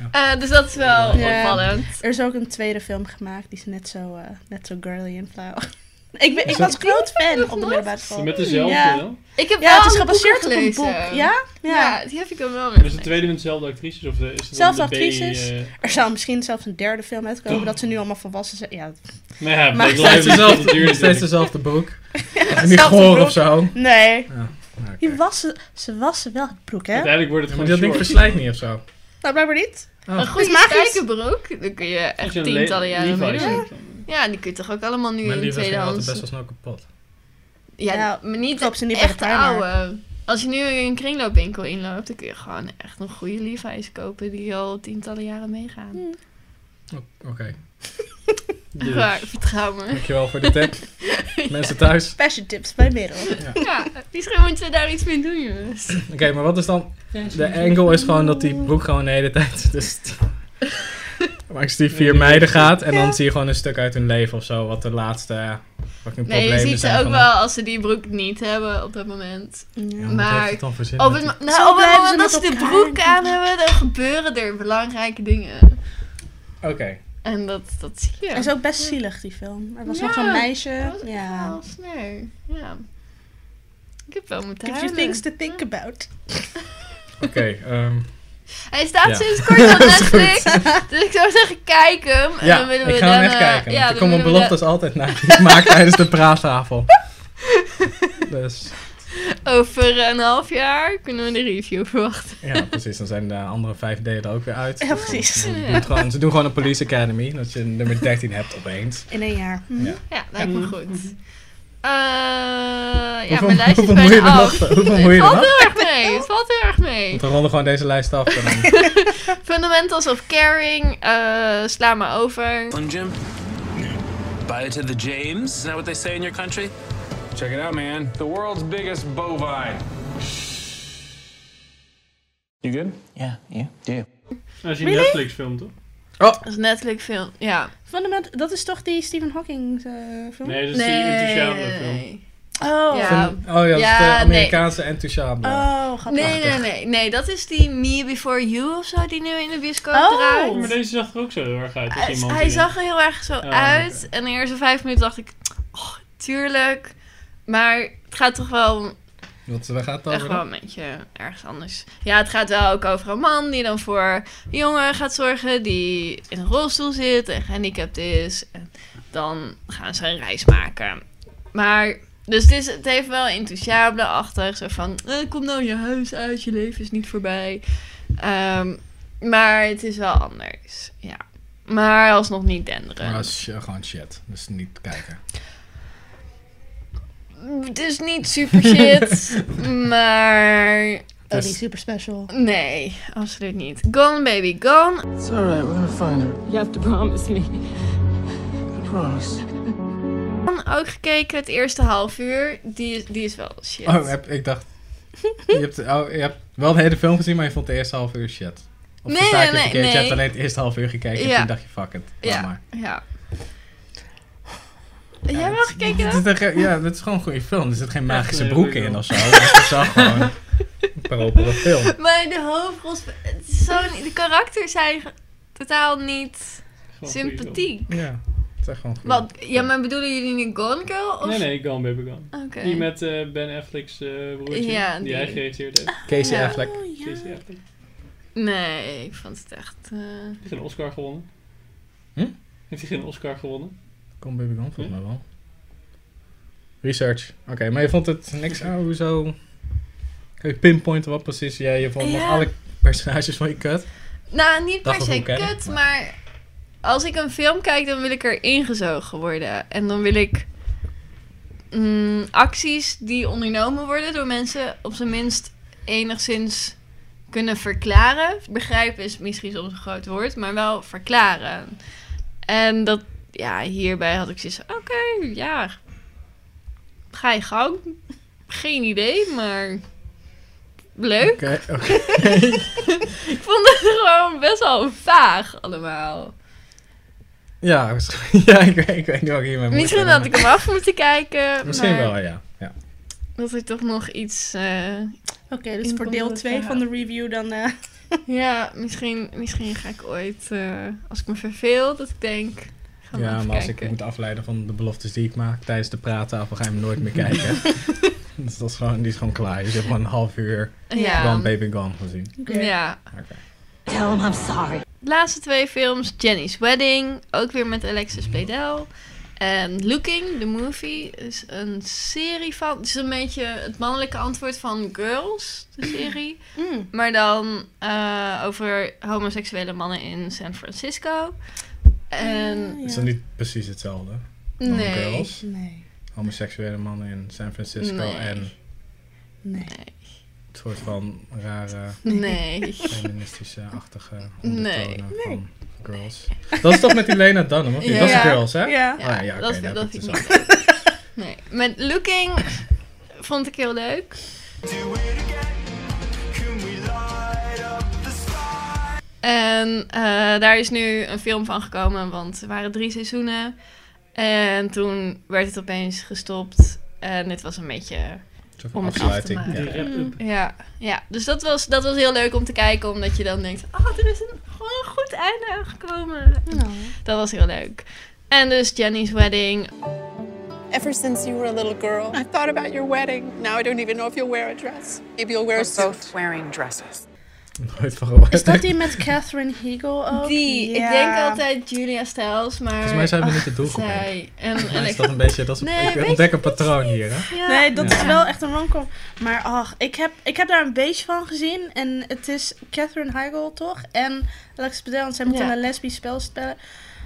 Speaker 1: ja, ja.
Speaker 3: Eh, dus dat is wel
Speaker 2: Ja.
Speaker 3: opvallend.
Speaker 2: Er is ook een tweede film gemaakt, die is net zo, eh, net zo girly en flauw. *laughs* ik ben, ik
Speaker 1: dat-
Speaker 2: was groot fan op de
Speaker 3: nog?
Speaker 2: middelbare school.
Speaker 4: Met dezelfde,
Speaker 2: Ja.
Speaker 4: dan?
Speaker 3: Ik heb
Speaker 2: Ja,
Speaker 3: wel
Speaker 2: het is
Speaker 3: alle boeken
Speaker 2: gebaseerd op een boek.
Speaker 3: gelezen.
Speaker 2: Ja?
Speaker 3: Ja.
Speaker 2: Ja.
Speaker 3: die heb ik hem wel
Speaker 4: En Is het
Speaker 3: weer.
Speaker 4: tweede met dezelfde actrices? Of de, is het
Speaker 2: Zelfde
Speaker 4: dan de B,
Speaker 2: actrices.
Speaker 4: eh,
Speaker 2: Er zou misschien zelfs een derde film uitkomen, dat ze nu allemaal volwassen zijn. Ja,
Speaker 4: nou ja,
Speaker 2: Maar-
Speaker 4: Black
Speaker 1: Steeds
Speaker 4: Lives
Speaker 1: dezelfde-
Speaker 4: Matter duurde
Speaker 1: Steeds
Speaker 4: natuurlijk.
Speaker 1: dezelfde boek. En niet goor of zo.
Speaker 2: nee.
Speaker 1: Oké.
Speaker 2: Die wassen, ze wassen wel het broek, hè? Nou,
Speaker 4: Uiteindelijk wordt
Speaker 1: Ja,
Speaker 4: het
Speaker 1: maar
Speaker 4: gewoon
Speaker 1: dat ding
Speaker 4: short.
Speaker 1: verslijt niet of zo.
Speaker 2: blijkbaar niet.
Speaker 3: Een goede
Speaker 2: Is magisch.
Speaker 3: spijkerbroek. Dan kun je echt
Speaker 4: Als je een
Speaker 3: tientallen
Speaker 4: le-
Speaker 3: jaren mee
Speaker 4: Levi's
Speaker 3: doen.
Speaker 4: hebt, dan-
Speaker 3: Ja, die kun je toch ook allemaal nu
Speaker 1: Mijn
Speaker 3: in
Speaker 1: liefde ging altijd
Speaker 3: tweedehands...
Speaker 1: best wel snel kapot.
Speaker 3: Ja,
Speaker 2: Ja,
Speaker 3: maar niet
Speaker 2: klopt, ze niet bij de
Speaker 3: echt
Speaker 2: Primark.
Speaker 3: oude. Als je nu een kringloopwinkel inloopt, dan kun je gewoon echt een goede Levi's kopen die al tientallen jaren meegaan.
Speaker 1: O- Oké,
Speaker 4: Dus-
Speaker 3: Waar, vertrouw me.
Speaker 1: dankjewel voor de tip. Mensen thuis.
Speaker 2: Fashion tips bij middel.
Speaker 3: Ja, misschien moeten we daar iets mee doen,
Speaker 1: *laughs*
Speaker 3: jongens.
Speaker 1: Oké, maar wat is dan... De angle is gewoon dat die broek gewoon de hele tijd... *laughs* Dus langs die vier meiden gaat. En dan zie je gewoon een stuk uit hun leven of zo. Wat de laatste eh, fucking
Speaker 3: Nee,
Speaker 1: problemen
Speaker 3: je
Speaker 1: zijn.
Speaker 3: ziet ze ook
Speaker 1: van-
Speaker 3: wel als ze die broek niet hebben op dat moment.
Speaker 1: Ja,
Speaker 2: Ja.
Speaker 1: wat
Speaker 3: maar-
Speaker 1: heeft het dan voor zin?
Speaker 3: Op het,
Speaker 1: dat
Speaker 3: nou,
Speaker 2: Zo
Speaker 3: op het
Speaker 2: blijven
Speaker 3: moment
Speaker 2: ze
Speaker 3: dat ze
Speaker 2: met
Speaker 3: de
Speaker 2: elkaar.
Speaker 3: broek aan hebben, dan gebeuren er belangrijke dingen.
Speaker 1: die- Oké.
Speaker 3: En dat, dat zie je.
Speaker 2: Hij is ook best zielig, die film. Er was
Speaker 3: Ja,
Speaker 2: nog zo'n
Speaker 3: Dat
Speaker 2: meisje.
Speaker 3: was echt
Speaker 2: Ja.
Speaker 3: wel sneu. Ja. Ik heb wel moeten
Speaker 2: Give you
Speaker 3: huilen.
Speaker 2: things to think about. *laughs*
Speaker 1: Oké, ehm,
Speaker 3: Hij staat
Speaker 1: Ja.
Speaker 3: sinds
Speaker 1: *laughs*
Speaker 3: kort op Netflix. dus ik zou zeggen, kijk hem. En dan
Speaker 1: ja,
Speaker 3: willen we
Speaker 1: ik ga hem
Speaker 3: dan,
Speaker 1: echt
Speaker 3: eh,
Speaker 1: kijken.
Speaker 3: Ja,
Speaker 1: want
Speaker 3: dan
Speaker 1: ik kom mijn *laughs*
Speaker 3: willen we *laughs*
Speaker 1: beloftes altijd na die ik maak tijdens de praattafel. dus,
Speaker 3: Over een half jaar kunnen we de review verwachten.
Speaker 1: Ja, precies. Dan zijn de andere vijf delen er ook weer uit.
Speaker 2: Ja, precies.
Speaker 1: Ze doen,
Speaker 3: Ja.
Speaker 1: gewoon, ze doen gewoon een Police Academy, dat je nummer 13 hebt opeens.
Speaker 2: In een jaar. Hm.
Speaker 1: Ja.
Speaker 3: Ja, lijkt me
Speaker 4: Ja.
Speaker 3: goed.
Speaker 1: *laughs*
Speaker 3: Eh, ja,
Speaker 1: Hoeveel-
Speaker 3: mijn lijst is
Speaker 1: hoeveel moet je er
Speaker 3: bijna
Speaker 1: nog-
Speaker 3: af.
Speaker 1: hoeveel
Speaker 3: Het
Speaker 1: moet je er
Speaker 3: valt
Speaker 1: nog?
Speaker 3: heel erg mee. Het valt heel erg mee.
Speaker 1: Want we ronden gewoon deze lijst af. En dan,
Speaker 3: Fundamentals of Caring, eh, sla maar over.
Speaker 12: Jim? Buy it to the James? Is that what they say in your country? Check it out, man. The world's biggest bovine. You good? Yeah, you? Do.
Speaker 4: Dat is een
Speaker 2: Really?
Speaker 4: Netflix film, toch?
Speaker 3: Dat is een Netflix film, ja.
Speaker 2: Fundament, dat is toch die Stephen Hawking eh, film?
Speaker 4: Nee, dat is die Intouchable film.
Speaker 3: nee.
Speaker 2: Oh.
Speaker 3: Ja.
Speaker 1: oh ja, dat is
Speaker 3: Ja,
Speaker 1: de
Speaker 3: nee.
Speaker 1: Amerikaanse enthousiasme.
Speaker 2: Oh, grappig.
Speaker 3: Nee, nee, nee, nee. Dat is die Me Before You of zo, die nu in de bioscoop
Speaker 2: Oh.
Speaker 3: draait.
Speaker 4: Maar deze zag er ook zo heel erg uit. als
Speaker 3: Hij,
Speaker 4: iemand
Speaker 3: hij
Speaker 4: die-
Speaker 3: zag er heel erg zo uit. En de eerste vijf minuten dacht ik, oh, tuurlijk. Maar het gaat toch wel
Speaker 1: Want waar gaat het
Speaker 3: echt
Speaker 1: over?
Speaker 3: wel
Speaker 1: dan?
Speaker 3: een beetje ergens anders. Ja, het gaat wel ook over een man die dan voor een jongen gaat zorgen die in een rolstoel zit en gehandicapt is. En dan gaan ze een reis maken. Maar, dus het, is, het heeft wel enthousiasme-achtig. Zo van, eh, kom nou je huis uit, je leven is niet voorbij. Ehm, maar het is wel anders, ja. Maar alsnog niet
Speaker 1: Maar dat
Speaker 3: denderend.
Speaker 1: is eh, gewoon shit. Dus niet kijken.
Speaker 3: Het is niet super shit, maar...
Speaker 2: Oh, die super special.
Speaker 3: Nee, absoluut niet. Gone baby, gone.
Speaker 7: It's all right. We're gonna find her.
Speaker 10: You have to promise me.
Speaker 7: I promise.
Speaker 3: Ook gekeken het eerste half uur. Die, is- die is wel shit.
Speaker 1: Oh, heb, ik dacht... Je hebt, oh, je hebt wel de hele film gezien, maar je vond de eerste half uur shit. Of
Speaker 3: Nee,
Speaker 1: versta ik het
Speaker 3: nee, nee,
Speaker 1: verkeerd? Je
Speaker 3: nee.
Speaker 1: hebt alleen het eerste half uur gekeken
Speaker 3: Ja.
Speaker 1: en toen dacht je, fuck it. laat
Speaker 3: ja,
Speaker 1: maar.
Speaker 3: ja. Jij wel gekeken
Speaker 1: Het
Speaker 3: dan?
Speaker 1: is echt- ja, dat is gewoon een goede film. Er zit geen magische
Speaker 4: een hele
Speaker 1: broek
Speaker 4: goede
Speaker 1: in
Speaker 4: film.
Speaker 1: of zo. Het is wel gewoon een propere film.
Speaker 3: Maar de hoofdrols... het is zo niet- De karakters zijn ge- totaal niet
Speaker 4: Gewoon een goeie film.
Speaker 3: sympathiek.
Speaker 1: Ja, het is echt gewoon goed.
Speaker 3: Wat, ja, maar bedoelen jullie nu Gone Girl? Of?
Speaker 4: Nee, nee, Gone Baby Gone.
Speaker 3: Oké.
Speaker 4: Die met eh, Ben Affleck's eh, broertje,
Speaker 3: Ja,
Speaker 4: die,
Speaker 3: die. Ah,
Speaker 4: hij geregisseerd heeft.
Speaker 1: Casey
Speaker 3: Ja.
Speaker 1: Affleck.
Speaker 2: Oh, ja.
Speaker 4: Casey Affleck. Die
Speaker 3: Nee, ik vond het echt... eh,
Speaker 4: heeft een Oscar gewonnen.
Speaker 1: Hm?
Speaker 4: Heeft hij geen Oscar gewonnen?
Speaker 1: Kom Baby Gone, volgens mij wel. Research. Oké, maar je vond het niks... Oh, hoezo? Kun je pinpointen wat precies jij... je vond nog
Speaker 3: Ja.
Speaker 1: alle personages van je kut.
Speaker 3: Nou, niet
Speaker 1: Dat
Speaker 3: per se
Speaker 1: gevoel ken ik,
Speaker 3: kut, maar als ik een film kijk, dan wil ik er ingezogen worden. En dan wil ik mm, acties die ondernomen worden door mensen op zijn minst enigszins kunnen verklaren. Begrijpen is misschien soms een groot woord, maar wel verklaren. En dat, ja, hierbij had ik zoiets van, oké, ja, ga je gang. Geen idee, maar leuk.
Speaker 1: Oké, oké.
Speaker 3: Ik vond het *laughs* gewoon best wel vaag allemaal.
Speaker 1: Ja, *laughs* misschien- ja ik, weet- ik weet niet wat ik hiermee moet.
Speaker 3: Misschien
Speaker 1: gaan,
Speaker 3: had ik hem af moeten kijken.
Speaker 1: *laughs* Misschien
Speaker 3: maar
Speaker 1: wel, ja. ja.
Speaker 3: Dat er toch nog iets. eh,
Speaker 2: Oké, dus voor deel
Speaker 3: Inkomende
Speaker 2: 2 van
Speaker 3: verhaal.
Speaker 2: de review dan... eh,
Speaker 3: ja, misschien, misschien ga ik ooit, eh, als ik me verveel, dat ik denk. Ga
Speaker 1: Ja, maar als ik
Speaker 3: kijken.
Speaker 1: moet afleiden van de beloftes die ik maak tijdens de praattafel, ga je hem nooit meer
Speaker 3: *laughs*
Speaker 1: kijken. dus dat is gewoon, die is gewoon klaar. Dus je hebt gewoon een half uur
Speaker 3: Ja.
Speaker 1: Gone Baby Gone gezien.
Speaker 3: ja.
Speaker 1: Oké.
Speaker 10: Tell him I'm sorry.
Speaker 3: De laatste twee films: Jenny's Wedding, ook weer met Alexis Bledel. En Looking, the movie, is een serie van. Het is een beetje het mannelijke antwoord van Girls, de serie.
Speaker 2: mm.
Speaker 3: Maar dan eh, over homoseksuele mannen in San Francisco. En
Speaker 1: Het is
Speaker 2: Mm. Ja.
Speaker 1: dan niet precies hetzelfde. Dan
Speaker 3: nee.
Speaker 1: Girls,
Speaker 2: Nee,
Speaker 1: homoseksuele mannen in San Francisco
Speaker 3: Nee.
Speaker 1: en
Speaker 2: nee.
Speaker 1: het soort van rare
Speaker 3: Nee.
Speaker 1: feministische-achtige
Speaker 3: Nee.
Speaker 1: ondertonen van Girls. Dat is toch met die Lena Dunham, of niet?
Speaker 3: Ja.
Speaker 1: Dat is
Speaker 3: Ja.
Speaker 1: Girls, hè?
Speaker 2: Ja.
Speaker 1: Ah, ja, oké,
Speaker 3: dat,
Speaker 1: daar
Speaker 3: dat
Speaker 1: heb ik
Speaker 3: vind
Speaker 1: het
Speaker 3: ik
Speaker 1: dus
Speaker 3: niet leuk. Nee. Met Looking vond ik heel leuk. En eh, daar is nu een film van gekomen, want er waren drie seizoenen. En toen werd het opeens gestopt. En dit was een beetje
Speaker 1: Een soort van
Speaker 3: Om het af te
Speaker 1: afsluiting.
Speaker 3: maken.
Speaker 1: ja.
Speaker 4: Die wrap-up.
Speaker 3: Ja, mm. ja. dus dat was, dat was heel leuk om te kijken, omdat je dan denkt, ah, er is een, gewoon een goed einde aangekomen.
Speaker 2: Nou,
Speaker 3: Dat was heel leuk. En dus Jenny's wedding.
Speaker 13: Ever since you were a little girl, I've thought about your wedding. Now I don't even know if you'll wear a dress. Maybe you'll wear a suit.
Speaker 10: Both wearing dresses.
Speaker 1: Nooit van gehoord.
Speaker 2: *laughs* Is dat die met Catherine Hegel ook?
Speaker 3: Die, ik
Speaker 2: Ja.
Speaker 3: denk eh, altijd Julia Stiles, maar...
Speaker 1: Volgens mij zijn we niet de
Speaker 3: Ach,
Speaker 1: doelgroep,
Speaker 3: zij. En,
Speaker 1: Volgens mij
Speaker 3: en
Speaker 1: is
Speaker 3: ik...
Speaker 1: dat een beetje, dat is,
Speaker 3: Nee, weet
Speaker 1: ik
Speaker 3: je
Speaker 1: ontdek een patroon hier, hè?
Speaker 2: Nee, dat
Speaker 1: Ja.
Speaker 2: is wel echt een romcom. Maar ach, ik heb, ik heb daar een beetje van gezien. En het is Catherine Heigl, toch? En Alex Bedell, want zij moeten
Speaker 3: Ja.
Speaker 2: een lesbisch spel spelen.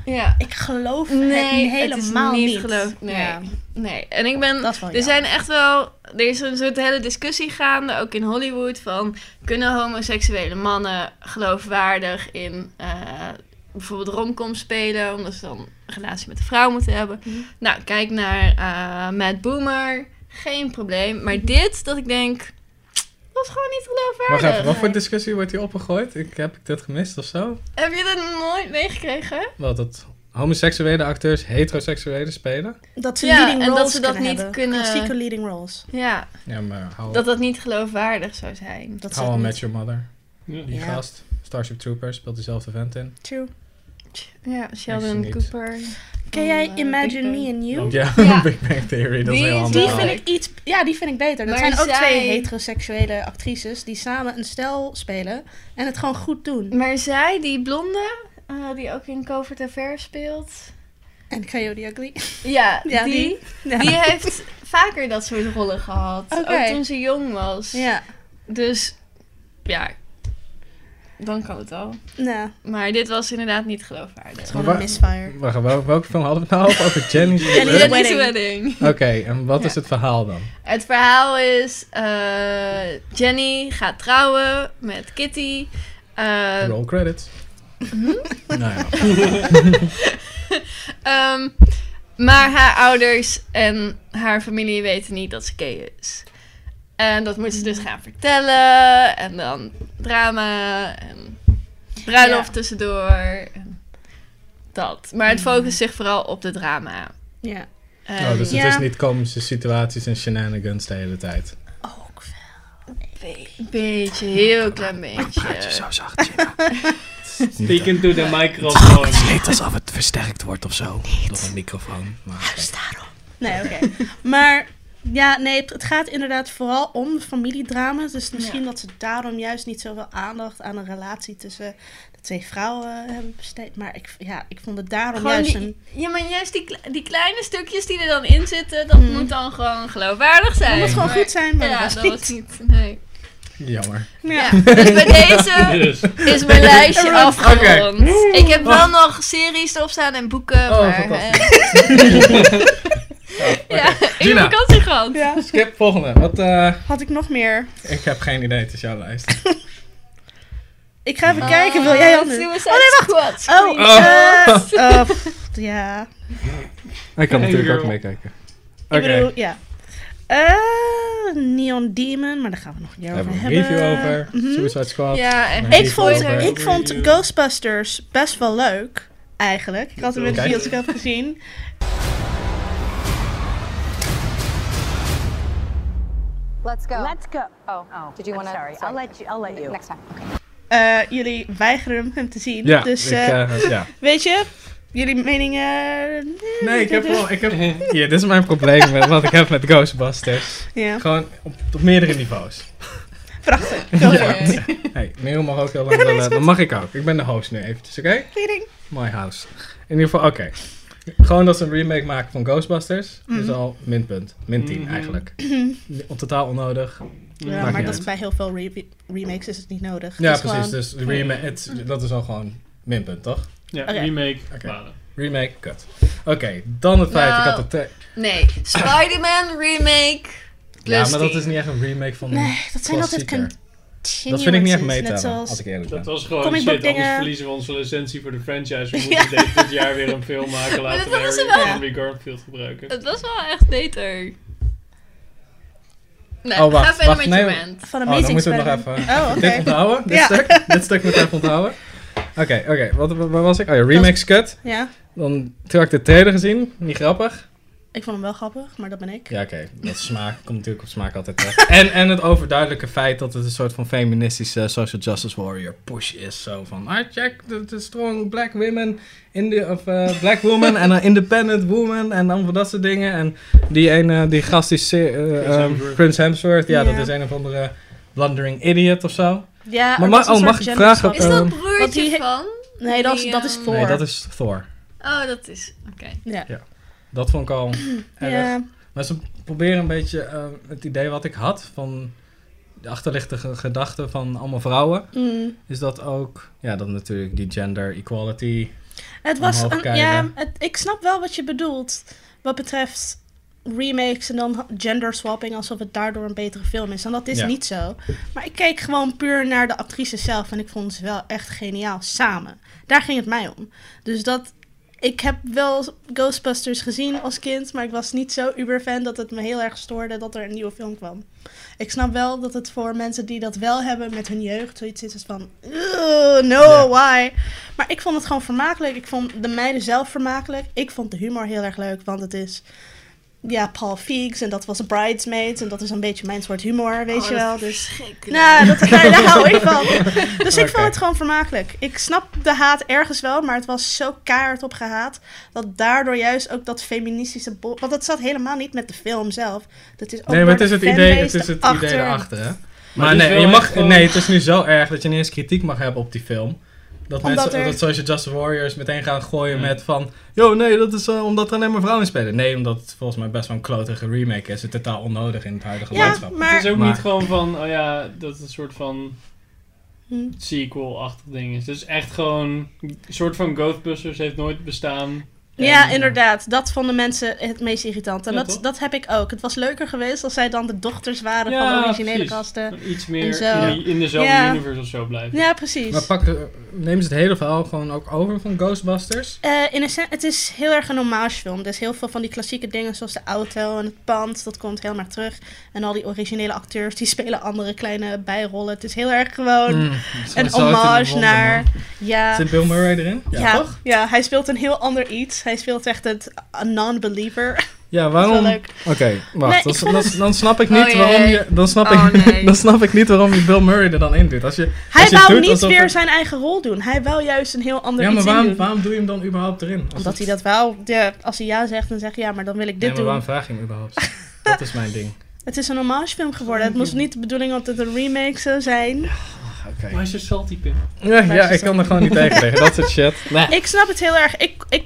Speaker 3: Ja.
Speaker 2: Ik geloof het
Speaker 3: Nee,
Speaker 2: niet
Speaker 3: het is
Speaker 2: helemaal
Speaker 3: niet
Speaker 2: niet.
Speaker 3: geloof- nee.
Speaker 2: Ja.
Speaker 3: Nee, en ik ben...
Speaker 2: Dat is wel
Speaker 3: er
Speaker 2: jammer.
Speaker 3: zijn echt wel... Er is een soort hele discussie gaande, ook in Hollywood, van... Kunnen homoseksuele mannen geloofwaardig in eh, bijvoorbeeld romcom spelen... omdat ze dan een relatie met een vrouw moeten hebben?
Speaker 2: Mhm.
Speaker 3: Nou, kijk naar eh Matt Boomer. Geen probleem. Maar
Speaker 2: Mhm.
Speaker 3: dit, dat ik denk... was gewoon niet
Speaker 1: Wacht
Speaker 3: geloofwaardig.
Speaker 1: even, wat voor discussie wordt hier opgegooid? Ik, heb ik dit gemist of zo?
Speaker 3: Heb je dat nooit meegekregen?
Speaker 1: Wat, dat homoseksuele acteurs heteroseksuele spelen?
Speaker 2: Dat ze
Speaker 3: Ja,
Speaker 2: leading
Speaker 3: en dat
Speaker 2: roles
Speaker 3: ze dat
Speaker 2: kunnen
Speaker 3: niet
Speaker 2: hebben.
Speaker 3: kunnen-
Speaker 2: Klassieke leading roles.
Speaker 3: Ja,
Speaker 1: Ja, maar hou,
Speaker 3: dat dat niet geloofwaardig zou zijn.
Speaker 2: Dat
Speaker 1: hou on met your mother.
Speaker 4: Ja.
Speaker 1: Die
Speaker 2: Ja.
Speaker 1: gast, Starship Troopers, speelt diezelfde vent in.
Speaker 2: True.
Speaker 3: Ja,
Speaker 1: Ik
Speaker 3: Sheldon
Speaker 1: zie niet.
Speaker 3: Cooper.
Speaker 2: Ken jij
Speaker 3: Van, eh, Big
Speaker 2: Imagine Me
Speaker 3: Bang.
Speaker 2: and You?
Speaker 1: Ja, *laughs* Big Bang Theory, dat is
Speaker 3: Die
Speaker 1: heel
Speaker 3: is-
Speaker 1: handig.
Speaker 2: Die
Speaker 3: Oh.
Speaker 2: vind ik iets... Ja, die vind ik beter. Dat
Speaker 3: Maar
Speaker 2: zijn ook
Speaker 3: zij-
Speaker 2: twee heteroseksuele actrices die samen een stel spelen. En het gewoon goed doen.
Speaker 3: Maar zij, die blonde, eh, die ook in Covert Affair speelt.
Speaker 2: En Coyote Ugly. *laughs* Nou,
Speaker 3: Ja,
Speaker 2: Ja,
Speaker 3: die, die.
Speaker 2: die. Ja.
Speaker 3: heeft vaker dat soort rollen gehad.
Speaker 2: Oké.
Speaker 3: Ook toen ze jong was.
Speaker 2: Ja.
Speaker 3: Dus ja, dan kan het al.
Speaker 2: Nou,
Speaker 3: Maar dit was inderdaad niet geloofwaardig.
Speaker 1: Maar wa- Wacht, wel- welke film hadden we het nou over? Over Jenny's
Speaker 3: Jenny's
Speaker 1: Wedding?
Speaker 3: Wedding. Wedding.
Speaker 1: Oké, en wat is het verhaal dan?
Speaker 3: Het verhaal is: eh, Jenny gaat trouwen met Kitty. Eh,
Speaker 1: Roll credits.
Speaker 2: Mhm.
Speaker 1: nou
Speaker 2: *laughs*
Speaker 1: ja.
Speaker 3: Ehm, maar haar ouders en haar familie weten niet dat ze gay is. En dat moet ze
Speaker 2: Mm.
Speaker 3: dus gaan vertellen. En dan drama en bruiloft
Speaker 2: Ja. Mm.
Speaker 3: tussendoor. En dat. Maar het focust zich vooral op de drama.
Speaker 2: ja.
Speaker 3: En
Speaker 1: Oh, dus het
Speaker 2: Eh, Ja.
Speaker 1: is niet komische situaties en shenanigans de hele tijd.
Speaker 3: een beetje,
Speaker 2: Oh,
Speaker 3: heel klein beetje.
Speaker 4: Speak into the microphone.
Speaker 1: klinkt alsof het versterkt wordt of zo. Door een microfoon. Maar,
Speaker 2: Nee, oké. maar ja, nee, het, het gaat inderdaad vooral om familiedrama. Dus misschien dat ze daarom juist niet zoveel aandacht aan de relatie tussen de twee vrouwen eh, hebben besteed. Maar ik, ja, ik vond het daarom
Speaker 3: Gewoon
Speaker 2: juist
Speaker 3: die,
Speaker 2: een...
Speaker 3: ja, maar juist die, kle- die kleine stukjes die er dan in zitten, dat moet dan gewoon geloofwaardig zijn.
Speaker 2: Het Mm. moet gewoon goed zijn, maar
Speaker 3: ja,
Speaker 2: dat was
Speaker 3: dat was niet. Nee.
Speaker 1: jammer. *laughs*
Speaker 3: Ja. Dus bij deze
Speaker 4: Dus,
Speaker 3: is mijn lijstje
Speaker 1: Oké.
Speaker 3: afgerond. Ik heb wel nog series erop staan en boeken,
Speaker 1: Oh,
Speaker 3: maar...
Speaker 1: fantastisch. *laughs*
Speaker 3: eh, ja, ik
Speaker 1: Gina.
Speaker 3: ben vakantiegrond.
Speaker 2: Ja,
Speaker 1: Skip, volgende. Wat, eh,
Speaker 2: had ik nog meer.
Speaker 1: ik heb geen idee, het is jouw lijst.
Speaker 2: Ik ga even kijken, wil jij anders?
Speaker 3: Suicide Ah. oh, nee, wacht. Squad.
Speaker 2: Oh,
Speaker 3: *laughs*
Speaker 2: eh, eh, pff, ja.
Speaker 1: Ik kan
Speaker 4: Hey,
Speaker 1: natuurlijk
Speaker 4: girl.
Speaker 1: ook meekijken. Oké,
Speaker 2: Ik bedoel, ja. Eh, Neon Demon, maar daar gaan we nog een keer
Speaker 1: daar hebben
Speaker 2: over
Speaker 1: we een
Speaker 2: hebben.
Speaker 1: review over.
Speaker 2: Mhm.
Speaker 1: Suicide Squad.
Speaker 3: Ja, en
Speaker 1: Een
Speaker 2: Ik
Speaker 1: review
Speaker 2: vond,
Speaker 1: over.
Speaker 2: ik vond Ghostbusters best wel leuk, eigenlijk. Ik had hem in de
Speaker 1: Kijk.
Speaker 2: bioscoop gezien.
Speaker 10: Let's go. Let's go. Oh, oh. Did you want to? Sorry. I'll let you. I'll let you. Next time.
Speaker 2: Eh, jullie weigeren hem te zien.
Speaker 1: Ja,
Speaker 2: dus
Speaker 1: ik,
Speaker 2: eh, *laughs*
Speaker 1: eh, ja.
Speaker 2: weet je, jullie meningen... eh,
Speaker 1: Nee,
Speaker 2: *laughs*
Speaker 1: ik heb wel... Ik heb, ja, dit is mijn probleem met wat ik heb met Ghostbusters.
Speaker 2: Ja,
Speaker 1: Gewoon op, op meerdere niveaus.
Speaker 2: prachtig. Go for
Speaker 1: Oh,
Speaker 2: it.
Speaker 1: Hey, Merel mag ook heel lang
Speaker 2: nee, is
Speaker 1: willen.
Speaker 2: goed.
Speaker 1: Dan mag ik ook. Ik ben de host nu eventjes, oké?
Speaker 2: Feeding.
Speaker 1: My House. In ieder geval, oké. Gewoon dat ze een remake maken van Ghostbusters
Speaker 2: Mhm.
Speaker 1: is al minpunt. Min 10
Speaker 4: Mhm.
Speaker 2: *clears throat*
Speaker 1: eigenlijk. Op totaal onnodig.
Speaker 2: Ja,
Speaker 1: niet
Speaker 2: maar dat
Speaker 1: uit.
Speaker 2: is bij heel veel re- remakes is het niet nodig.
Speaker 1: Ja,
Speaker 2: Het is
Speaker 1: precies.
Speaker 2: gewoon-
Speaker 1: Dus remake, het, dat is al gewoon minpunt, toch?
Speaker 4: ja,
Speaker 2: Oké.
Speaker 4: remake.
Speaker 1: Oké.
Speaker 4: balen.
Speaker 1: Remake, kut. Oké, dan het feit. Ik had
Speaker 3: Nou,
Speaker 1: het te-
Speaker 3: Nee, Spider-Man remake.
Speaker 1: ja, maar dat
Speaker 3: 10.
Speaker 1: is niet echt een remake van een
Speaker 2: Nee, dat zijn altijd
Speaker 1: klassieker. Dat
Speaker 2: continuances.
Speaker 1: vind ik niet echt
Speaker 2: Net
Speaker 1: meetellen,
Speaker 2: zoals...
Speaker 1: als ik eerlijk ben.
Speaker 4: Dat was gewoon
Speaker 2: Comic
Speaker 4: shit,
Speaker 2: book dingen.
Speaker 4: anders verliezen we onze licentie voor de
Speaker 3: *laughs*
Speaker 4: franchise. We
Speaker 2: Ja.
Speaker 4: moeten dit- dit jaar weer een film maken, laten we
Speaker 3: dat was
Speaker 4: Harry,
Speaker 3: wel-
Speaker 4: Henry Garfield gebruiken.
Speaker 3: Het was wel echt beter. Nee,
Speaker 1: Oh, wacht,
Speaker 3: ga verder
Speaker 1: wacht,
Speaker 3: met je
Speaker 1: nee.
Speaker 3: rant.
Speaker 2: Van
Speaker 1: Oh,
Speaker 2: Amazing
Speaker 1: dan moeten we nog even
Speaker 2: Spider-Man. Oh, oké.
Speaker 1: dit
Speaker 2: *laughs*
Speaker 1: onthouden. Dit
Speaker 2: Ja.
Speaker 1: stuk. Dit stuk moet ik even onthouden. Oké, oké. Wat, wat waar was ik? Oh ja, remake's kut.
Speaker 2: Ja,
Speaker 1: Dan toen had ik de trailer gezien. Niet grappig.
Speaker 2: ik vond hem wel grappig, maar dat ben ik.
Speaker 1: Ja, oké. Dat is smaak *laughs* komt natuurlijk op smaak altijd terecht. en, en het overduidelijke feit dat het een soort van feministische social justice warrior push is. Zo van, I check the, the strong black women, in the, of eh, black woman en een independent woman en dan van dat soort dingen. En die ene, die gast is Prince
Speaker 4: Hemsworth.
Speaker 1: Prince Hemsworth. Ja,
Speaker 2: Ja.
Speaker 1: dat is een of andere blundering idiot of zo.
Speaker 2: Ja,
Speaker 1: Maar
Speaker 2: er
Speaker 1: ma-
Speaker 2: was een
Speaker 1: oh,
Speaker 2: soort
Speaker 1: mag ik
Speaker 2: gender
Speaker 1: vragen,
Speaker 2: swap.
Speaker 1: Is dat ehm,
Speaker 3: broertje
Speaker 2: Want oh. die he-
Speaker 3: van
Speaker 2: Nee, dat,
Speaker 3: die,
Speaker 2: dat is
Speaker 3: ehm,
Speaker 2: Thor.
Speaker 1: Nee, dat is Thor.
Speaker 3: Oh, dat is. Oké.
Speaker 2: Ja.
Speaker 1: Ja. Dat vond ik al erg.
Speaker 2: Ja.
Speaker 1: Maar ze proberen een beetje eh, het idee wat ik had van de achterliggende gedachte van allemaal vrouwen.
Speaker 2: Mm.
Speaker 1: Is dat ook, ja, dan natuurlijk die gender equality.
Speaker 2: Het was
Speaker 1: omhoog
Speaker 2: een,
Speaker 1: kijken.
Speaker 2: ja, het, ik snap wel wat je bedoelt. Wat betreft remakes en dan gender swapping, alsof het daardoor een betere film is. En dat is
Speaker 1: Ja.
Speaker 2: niet zo. Maar ik keek gewoon puur naar de actrices zelf en ik vond ze wel echt geniaal samen. Daar ging het mij om. Dus dat. Ik heb wel Ghostbusters gezien als kind, maar ik was niet zo uber fan dat het me heel erg stoorde dat er een nieuwe film kwam. Ik snap wel dat het voor mensen die dat wel hebben met hun jeugd zoiets is van... "Ugh, no, why? Maar ik vond het gewoon vermakelijk. Ik vond de meiden zelf vermakelijk. Ik vond de humor heel erg leuk, want het is... Ja, Paul Feig en dat was Bridesmaids en dat is een beetje mijn soort humor, weet
Speaker 3: Oh,
Speaker 2: je
Speaker 3: dat
Speaker 2: wel.
Speaker 3: is
Speaker 2: Dus,
Speaker 3: verschrikkelijk.
Speaker 2: *laughs* nou, dat, daar, daar hou ik
Speaker 1: *laughs*
Speaker 2: van. Dus ik
Speaker 3: Oké.
Speaker 2: vond het gewoon vermakelijk. Ik snap de haat ergens wel, maar het was zo kaart op gehaat... dat daardoor juist ook dat feministische... bol- Want dat zat helemaal niet met de film zelf. Dat is ook
Speaker 1: Nee, maar het
Speaker 2: door
Speaker 1: is het
Speaker 2: de
Speaker 1: idee, het
Speaker 2: fanbase
Speaker 1: is het
Speaker 2: erachter.
Speaker 1: idee erachter, hè?
Speaker 4: Maar
Speaker 1: Maar,
Speaker 4: het is
Speaker 1: nee,
Speaker 4: wel
Speaker 1: je
Speaker 4: echt
Speaker 1: mag,
Speaker 4: gewoon-
Speaker 1: nee, het is nu zo erg dat je niet eens kritiek mag hebben op die film. Dat
Speaker 2: Omdat
Speaker 1: mensen,
Speaker 2: er-
Speaker 1: dat Social Justice Warriors meteen gaan gooien met van... Yo, nee, dat is eh, omdat er alleen maar vrouwen in spelen. Nee, omdat het volgens mij best wel een klotige remake is. Het is totaal onnodig in het huidige
Speaker 2: Ja,
Speaker 1: landschap.
Speaker 2: maar-
Speaker 4: Het is ook niet gewoon van, oh ja, dat het een soort van
Speaker 2: Hm.
Speaker 4: sequel-achtig ding is. Dus echt gewoon, een soort van Ghostbusters heeft nooit bestaan. eh,
Speaker 2: Ja, inderdaad. Dat vonden mensen het meest irritant. En
Speaker 4: Ja,
Speaker 2: dat,
Speaker 4: toch?
Speaker 2: dat heb ik ook. Het was leuker geweest als zij dan de dochters waren
Speaker 4: Ja,
Speaker 2: van de originele
Speaker 4: precies.
Speaker 2: gasten.
Speaker 4: Iets
Speaker 2: en
Speaker 4: meer
Speaker 2: zo.
Speaker 4: in, die- in dezelfde
Speaker 2: Ja.
Speaker 4: universe of zo blijven.
Speaker 2: Ja, precies.
Speaker 1: Maar pak, eh, neem ze het hele verhaal gewoon ook over van Ghostbusters?
Speaker 2: Eh, in een sen- het is heel erg een hommage film. Dus heel veel van die klassieke dingen zoals de auto en het pand, dat komt helemaal terug. En al die originele acteurs, die *laughs* spelen andere kleine bijrollen. Het is heel erg gewoon
Speaker 1: Mm, zo-
Speaker 2: een
Speaker 1: zo uit in de
Speaker 2: hommage
Speaker 1: wonden,
Speaker 2: naar...
Speaker 1: man.
Speaker 2: Ja,
Speaker 1: Zit Bill Murray erin?
Speaker 2: ja,
Speaker 1: Ja,
Speaker 2: ja,
Speaker 1: toch?
Speaker 2: hij speelt een heel ander iets. Hij speelt echt het a non-believer.
Speaker 1: Ja,
Speaker 2: wel
Speaker 1: waarom? Oké,
Speaker 2: leuk. Nee,
Speaker 1: wacht.
Speaker 2: ik
Speaker 1: dan,
Speaker 2: vond
Speaker 1: dan,
Speaker 2: het-
Speaker 1: dan snap ik
Speaker 2: Oh,
Speaker 1: niet
Speaker 2: jee.
Speaker 1: waarom je. Dan snap,
Speaker 2: Oh,
Speaker 1: ik,
Speaker 2: nee.
Speaker 1: dan snap ik niet waarom je Bill Murray er dan in doet. Als je,
Speaker 2: Hij
Speaker 1: als je
Speaker 2: wou
Speaker 1: doet
Speaker 2: niet
Speaker 1: alsof
Speaker 2: weer
Speaker 1: het-
Speaker 2: zijn eigen rol doen. Hij wou juist een heel ander
Speaker 1: Ja,
Speaker 2: iets
Speaker 1: maar
Speaker 2: in
Speaker 1: waarom,
Speaker 2: doen.
Speaker 1: waarom doe je hem dan überhaupt erin? Als het-
Speaker 2: Omdat hij dat wel, ja, als hij ja zegt, dan zeg je ja, maar dan wil
Speaker 1: Nee,
Speaker 2: ik dit
Speaker 1: maar
Speaker 2: doen.
Speaker 1: waarom vraag je hem *laughs* überhaupt? dat is mijn ding.
Speaker 2: Het is een hommagefilm geworden. Het moest niet de bedoeling dat het een remake zou zijn.
Speaker 1: Oké.
Speaker 4: Why is je salty, Pim?
Speaker 1: Ja,
Speaker 2: Waar is
Speaker 1: ja,
Speaker 2: het
Speaker 1: ik kan
Speaker 2: dan?
Speaker 1: er gewoon niet tegen tegen. Dat soort shit.
Speaker 2: Ik snap het heel erg. Ik, ik,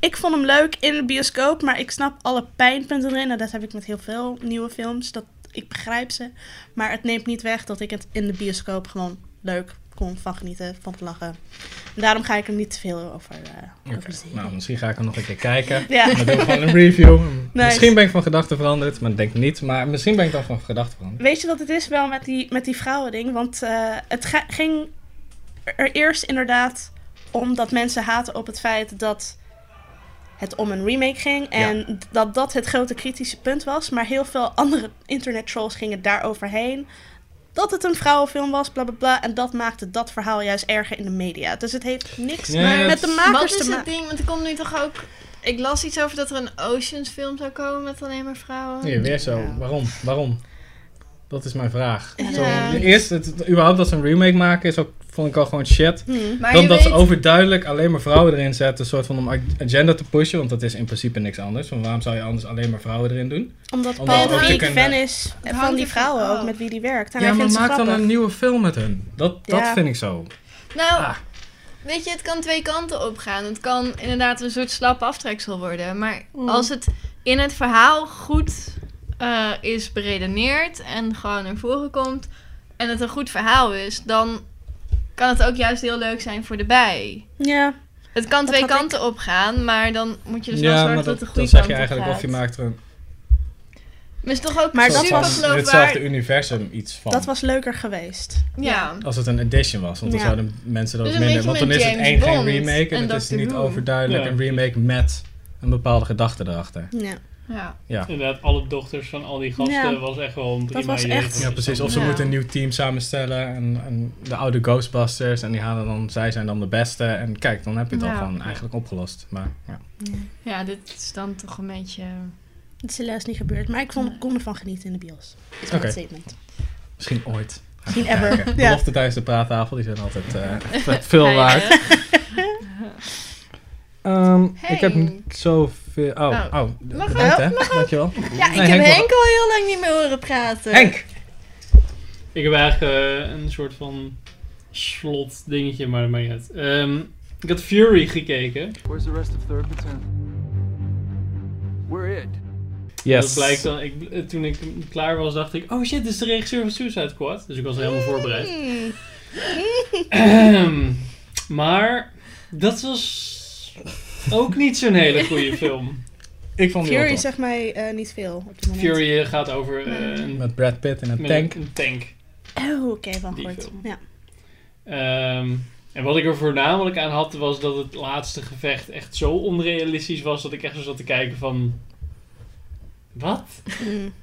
Speaker 2: ik vond hem leuk in de bioscoop, maar ik snap alle pijnpunten erin. En dat heb ik met heel veel nieuwe films. Dat, ik begrijp ze. Maar het neemt niet weg dat ik het in de bioscoop gewoon leuk kon van genieten, van het lachen. En daarom ga ik er niet te veel over, eh over zien.
Speaker 1: Nou, misschien ga ik hem nog een keer kijken.
Speaker 2: Ja.
Speaker 1: Dan doen we gewoon een review.
Speaker 2: Nice.
Speaker 1: Misschien ben ik van gedachten veranderd, maar ik denk niet. Maar misschien ben ik dan van gedachten veranderd.
Speaker 2: Weet je wat het is wel met die, met die vrouwending? Want eh, het ga- ging er eerst inderdaad om dat mensen haten op het feit dat het om een remake ging. En dat dat het grote kritische punt was. Maar heel veel andere internet trolls gingen daar overheen. Dat het een vrouwenfilm was, bla bla bla. En dat maakte dat verhaal juist erger in de media. Dus het heeft niks
Speaker 1: Ja, ja,
Speaker 2: met
Speaker 1: het-
Speaker 2: de makers
Speaker 3: Wat is
Speaker 2: te
Speaker 3: het
Speaker 2: maken.
Speaker 3: ding? Want er komt nu toch ook... Ik las iets over dat er een Oceans film zou komen met alleen maar vrouwen.
Speaker 1: Nee, weer zo. Waarom? Waarom? Dat is mijn vraag.
Speaker 3: Ja.
Speaker 1: Zo, eerst, het, het- überhaupt dat ze een remake maken, is ook, vond ik al gewoon shit.
Speaker 2: Hmm.
Speaker 3: Maar
Speaker 1: Dan
Speaker 3: je
Speaker 1: dat ze
Speaker 3: weet-
Speaker 1: overduidelijk alleen maar vrouwen erin zetten, een soort van om ag- agenda te pushen, want dat is in principe niks anders. Want waarom zou je anders alleen maar vrouwen erin doen?
Speaker 2: Omdat
Speaker 1: Om
Speaker 2: Paul
Speaker 1: dan ook te
Speaker 2: Feig
Speaker 1: kunnen-
Speaker 2: fan is
Speaker 3: Het
Speaker 2: van
Speaker 3: hangt
Speaker 2: die
Speaker 3: ervan
Speaker 2: vrouwen ook
Speaker 3: af.
Speaker 2: met wie die werkt. En
Speaker 1: Ja,
Speaker 2: hij
Speaker 1: maar
Speaker 2: vindt ze
Speaker 1: maak dan
Speaker 2: grappig.
Speaker 1: een nieuwe film met hun. Dat, dat
Speaker 2: Ja.
Speaker 1: vind ik zo.
Speaker 3: Nou,
Speaker 1: Ah.
Speaker 3: weet je, het kan twee kanten op gaan. Het kan inderdaad een soort slappe aftreksel worden. Maar als het in het verhaal goed eh, is beredeneerd en gewoon naar voren komt en het een goed verhaal is, dan kan het ook juist heel leuk zijn voor de bij.
Speaker 2: Ja.
Speaker 3: Het kan
Speaker 2: Dat
Speaker 3: twee
Speaker 2: had ik.
Speaker 3: kanten op gaan, maar dan moet je dus wel
Speaker 1: ja,
Speaker 3: zorgen
Speaker 1: maar
Speaker 3: dat,
Speaker 1: dat,
Speaker 3: het de goede
Speaker 1: dan
Speaker 3: kant
Speaker 1: zeg je eigenlijk
Speaker 3: op
Speaker 1: of je
Speaker 3: gaat.
Speaker 1: maakt er een
Speaker 3: Maar het is toch ook
Speaker 2: Maar dat
Speaker 1: soort
Speaker 3: super
Speaker 1: van
Speaker 2: was-
Speaker 1: hetzelfde
Speaker 3: geloofwaardig.
Speaker 1: universum iets van.
Speaker 2: Dat was leuker geweest.
Speaker 3: Ja.
Speaker 1: Als het een edition was, want dan
Speaker 2: Ja.
Speaker 1: zouden mensen dat
Speaker 3: Dus
Speaker 1: ook
Speaker 3: een
Speaker 1: minder. Want
Speaker 3: beetje
Speaker 1: dan
Speaker 3: met
Speaker 1: is het
Speaker 3: James
Speaker 1: één geen
Speaker 3: Bond
Speaker 1: remake en,
Speaker 3: en
Speaker 1: het is
Speaker 3: Doctor
Speaker 1: niet
Speaker 3: Who.
Speaker 1: overduidelijk
Speaker 4: Ja.
Speaker 1: een remake met een bepaalde gedachte erachter.
Speaker 2: Ja.
Speaker 3: Ja.
Speaker 1: Ja.
Speaker 4: Inderdaad, alle dochters van al die gasten
Speaker 2: Ja.
Speaker 4: was echt wel een prima
Speaker 2: was
Speaker 4: idee
Speaker 2: echt-
Speaker 4: voor
Speaker 1: Ja,
Speaker 4: iets
Speaker 1: precies. Of
Speaker 4: anders.
Speaker 1: ze
Speaker 3: Ja.
Speaker 1: moeten een nieuw team samenstellen en, en de oude Ghostbusters en die halen dan, zij zijn dan de beste. En kijk, dan heb je het
Speaker 3: Ja.
Speaker 1: al van eigenlijk opgelost. Maar ja.
Speaker 3: ja, dit is dan toch een beetje...
Speaker 2: Het is helaas niet gebeurd, maar ik vond, kon ervan genieten in de bios. Is mijn
Speaker 1: Oké.
Speaker 2: statement.
Speaker 1: misschien *laughs* ooit. Gaan we
Speaker 2: Misschien ever.
Speaker 1: kijken.
Speaker 2: Ja.
Speaker 1: Belofte tijdens de praattafel, die zijn altijd *laughs* eh, veel waard. Ehm, Ik heb niet zoveel. Oh, oh.
Speaker 3: Oh. Mag
Speaker 1: bedankt hè.
Speaker 3: wel,
Speaker 1: Dankjewel.
Speaker 3: Ja, ik
Speaker 1: Nee, Henk
Speaker 3: heb
Speaker 1: wil-
Speaker 3: Henk al heel lang niet meer horen praten.
Speaker 1: Henk!
Speaker 4: Ik heb eigenlijk eh, een soort van slot dingetje, maar dat maakt niet uit. Ehm, ik had Fury gekeken.
Speaker 14: Where's the rest of third platoon? We're it.
Speaker 4: En Dat blijkt dan, ik, eh, toen ik klaar was, dacht ik, oh shit, dit is de regisseur van Suicide Squad. Dus ik was helemaal voorbereid.
Speaker 2: Hmm.
Speaker 4: Ehm, maar dat was ook niet zo'n hele goede film.
Speaker 1: Ik vond
Speaker 2: Fury zegt mij eh, niet veel op dit moment.
Speaker 4: Fury eh, gaat over eh, een,
Speaker 1: Met Brad Pitt in een
Speaker 4: met
Speaker 1: tank.
Speaker 4: een tank.
Speaker 2: Oh, oké, van gehoord.
Speaker 4: film.
Speaker 2: Ja.
Speaker 4: Ehm, en wat ik er voornamelijk aan had, was dat het laatste gevecht echt zo onrealistisch was dat ik echt zo zat te kijken van. Wat?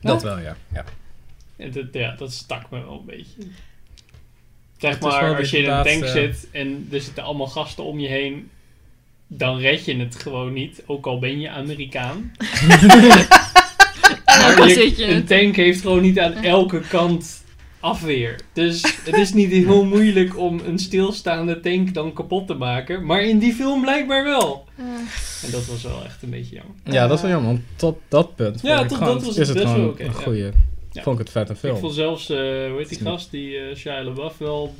Speaker 1: Dat wel, ja. ja.
Speaker 4: En dat, ja, dat stak me wel een beetje.
Speaker 1: Het
Speaker 4: Zeg
Speaker 1: is wel
Speaker 4: maar,
Speaker 1: weer
Speaker 4: als je in een
Speaker 1: inderdaad,
Speaker 4: tank
Speaker 1: eh,
Speaker 4: zit en er zitten allemaal gasten om je heen, dan red je het gewoon niet, ook al ben
Speaker 3: *laughs*
Speaker 4: je Amerikaan. Maar
Speaker 3: ook al
Speaker 4: je-
Speaker 3: zit je
Speaker 4: een
Speaker 3: het.
Speaker 4: tank heeft gewoon niet aan elke kant afweer. Dus het is niet heel moeilijk om een stilstaande tank dan kapot te maken, maar in die film blijkbaar wel. En dat was wel echt een beetje jammer.
Speaker 1: Ja, dat is wel jammer, want tot dat punt
Speaker 4: Ja,
Speaker 1: vond ik
Speaker 4: tot
Speaker 1: gewoon-
Speaker 4: dat was
Speaker 1: is
Speaker 4: het
Speaker 1: het
Speaker 4: best
Speaker 1: gewoon
Speaker 4: wel oké,
Speaker 1: een
Speaker 4: ja.
Speaker 1: goede.
Speaker 4: Ja.
Speaker 1: Vond ik het vet een film.
Speaker 4: Ik vond zelfs, eh hoe heet die
Speaker 1: Ja.
Speaker 4: gast, die eh Shia LaBeouf wel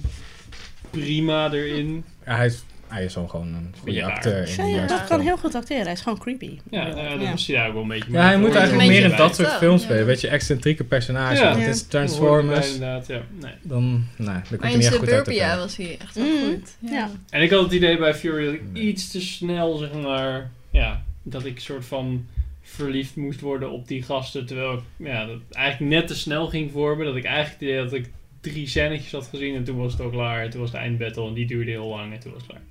Speaker 4: prima erin.
Speaker 1: Ja, hij, is, hij is wel gewoon een goede
Speaker 4: Ja.
Speaker 1: acteur. In
Speaker 2: Shia
Speaker 1: die
Speaker 2: LaBeouf
Speaker 1: juiste
Speaker 2: kan
Speaker 1: film.
Speaker 2: heel goed acteren. Hij is gewoon creepy.
Speaker 4: Ja, nou ja, dat was hij daar ook wel een beetje
Speaker 1: Ja, hij moet
Speaker 4: Hoort er
Speaker 1: eigenlijk
Speaker 4: een
Speaker 1: meer in
Speaker 4: beetje
Speaker 1: dat soort
Speaker 4: bij.
Speaker 1: films spelen. Weet je, excentrieke personages.
Speaker 4: Ja.
Speaker 1: want
Speaker 4: Ja.
Speaker 1: Het is
Speaker 4: Hoort erbij
Speaker 1: Transformers.
Speaker 4: Inderdaad, ja. Nee.
Speaker 1: Dan, nee, dat komt
Speaker 3: Maar
Speaker 1: hij
Speaker 3: in
Speaker 1: niet echt goed uit
Speaker 3: Suburbia
Speaker 1: elkaar.
Speaker 3: was hij echt wel goed.
Speaker 2: Ja.
Speaker 4: En ik had het idee bij Fury dat ik iets te snel, zeg maar, ja, dat ik soort van verliefd moest worden op die gasten. Terwijl ik ja, dat eigenlijk net te snel ging voor me. Dat ik eigenlijk het idee had dat ik drie scènetjes had gezien en toen was het al klaar. En toen was de eindbattle en die duurde heel lang en toen was het klaar.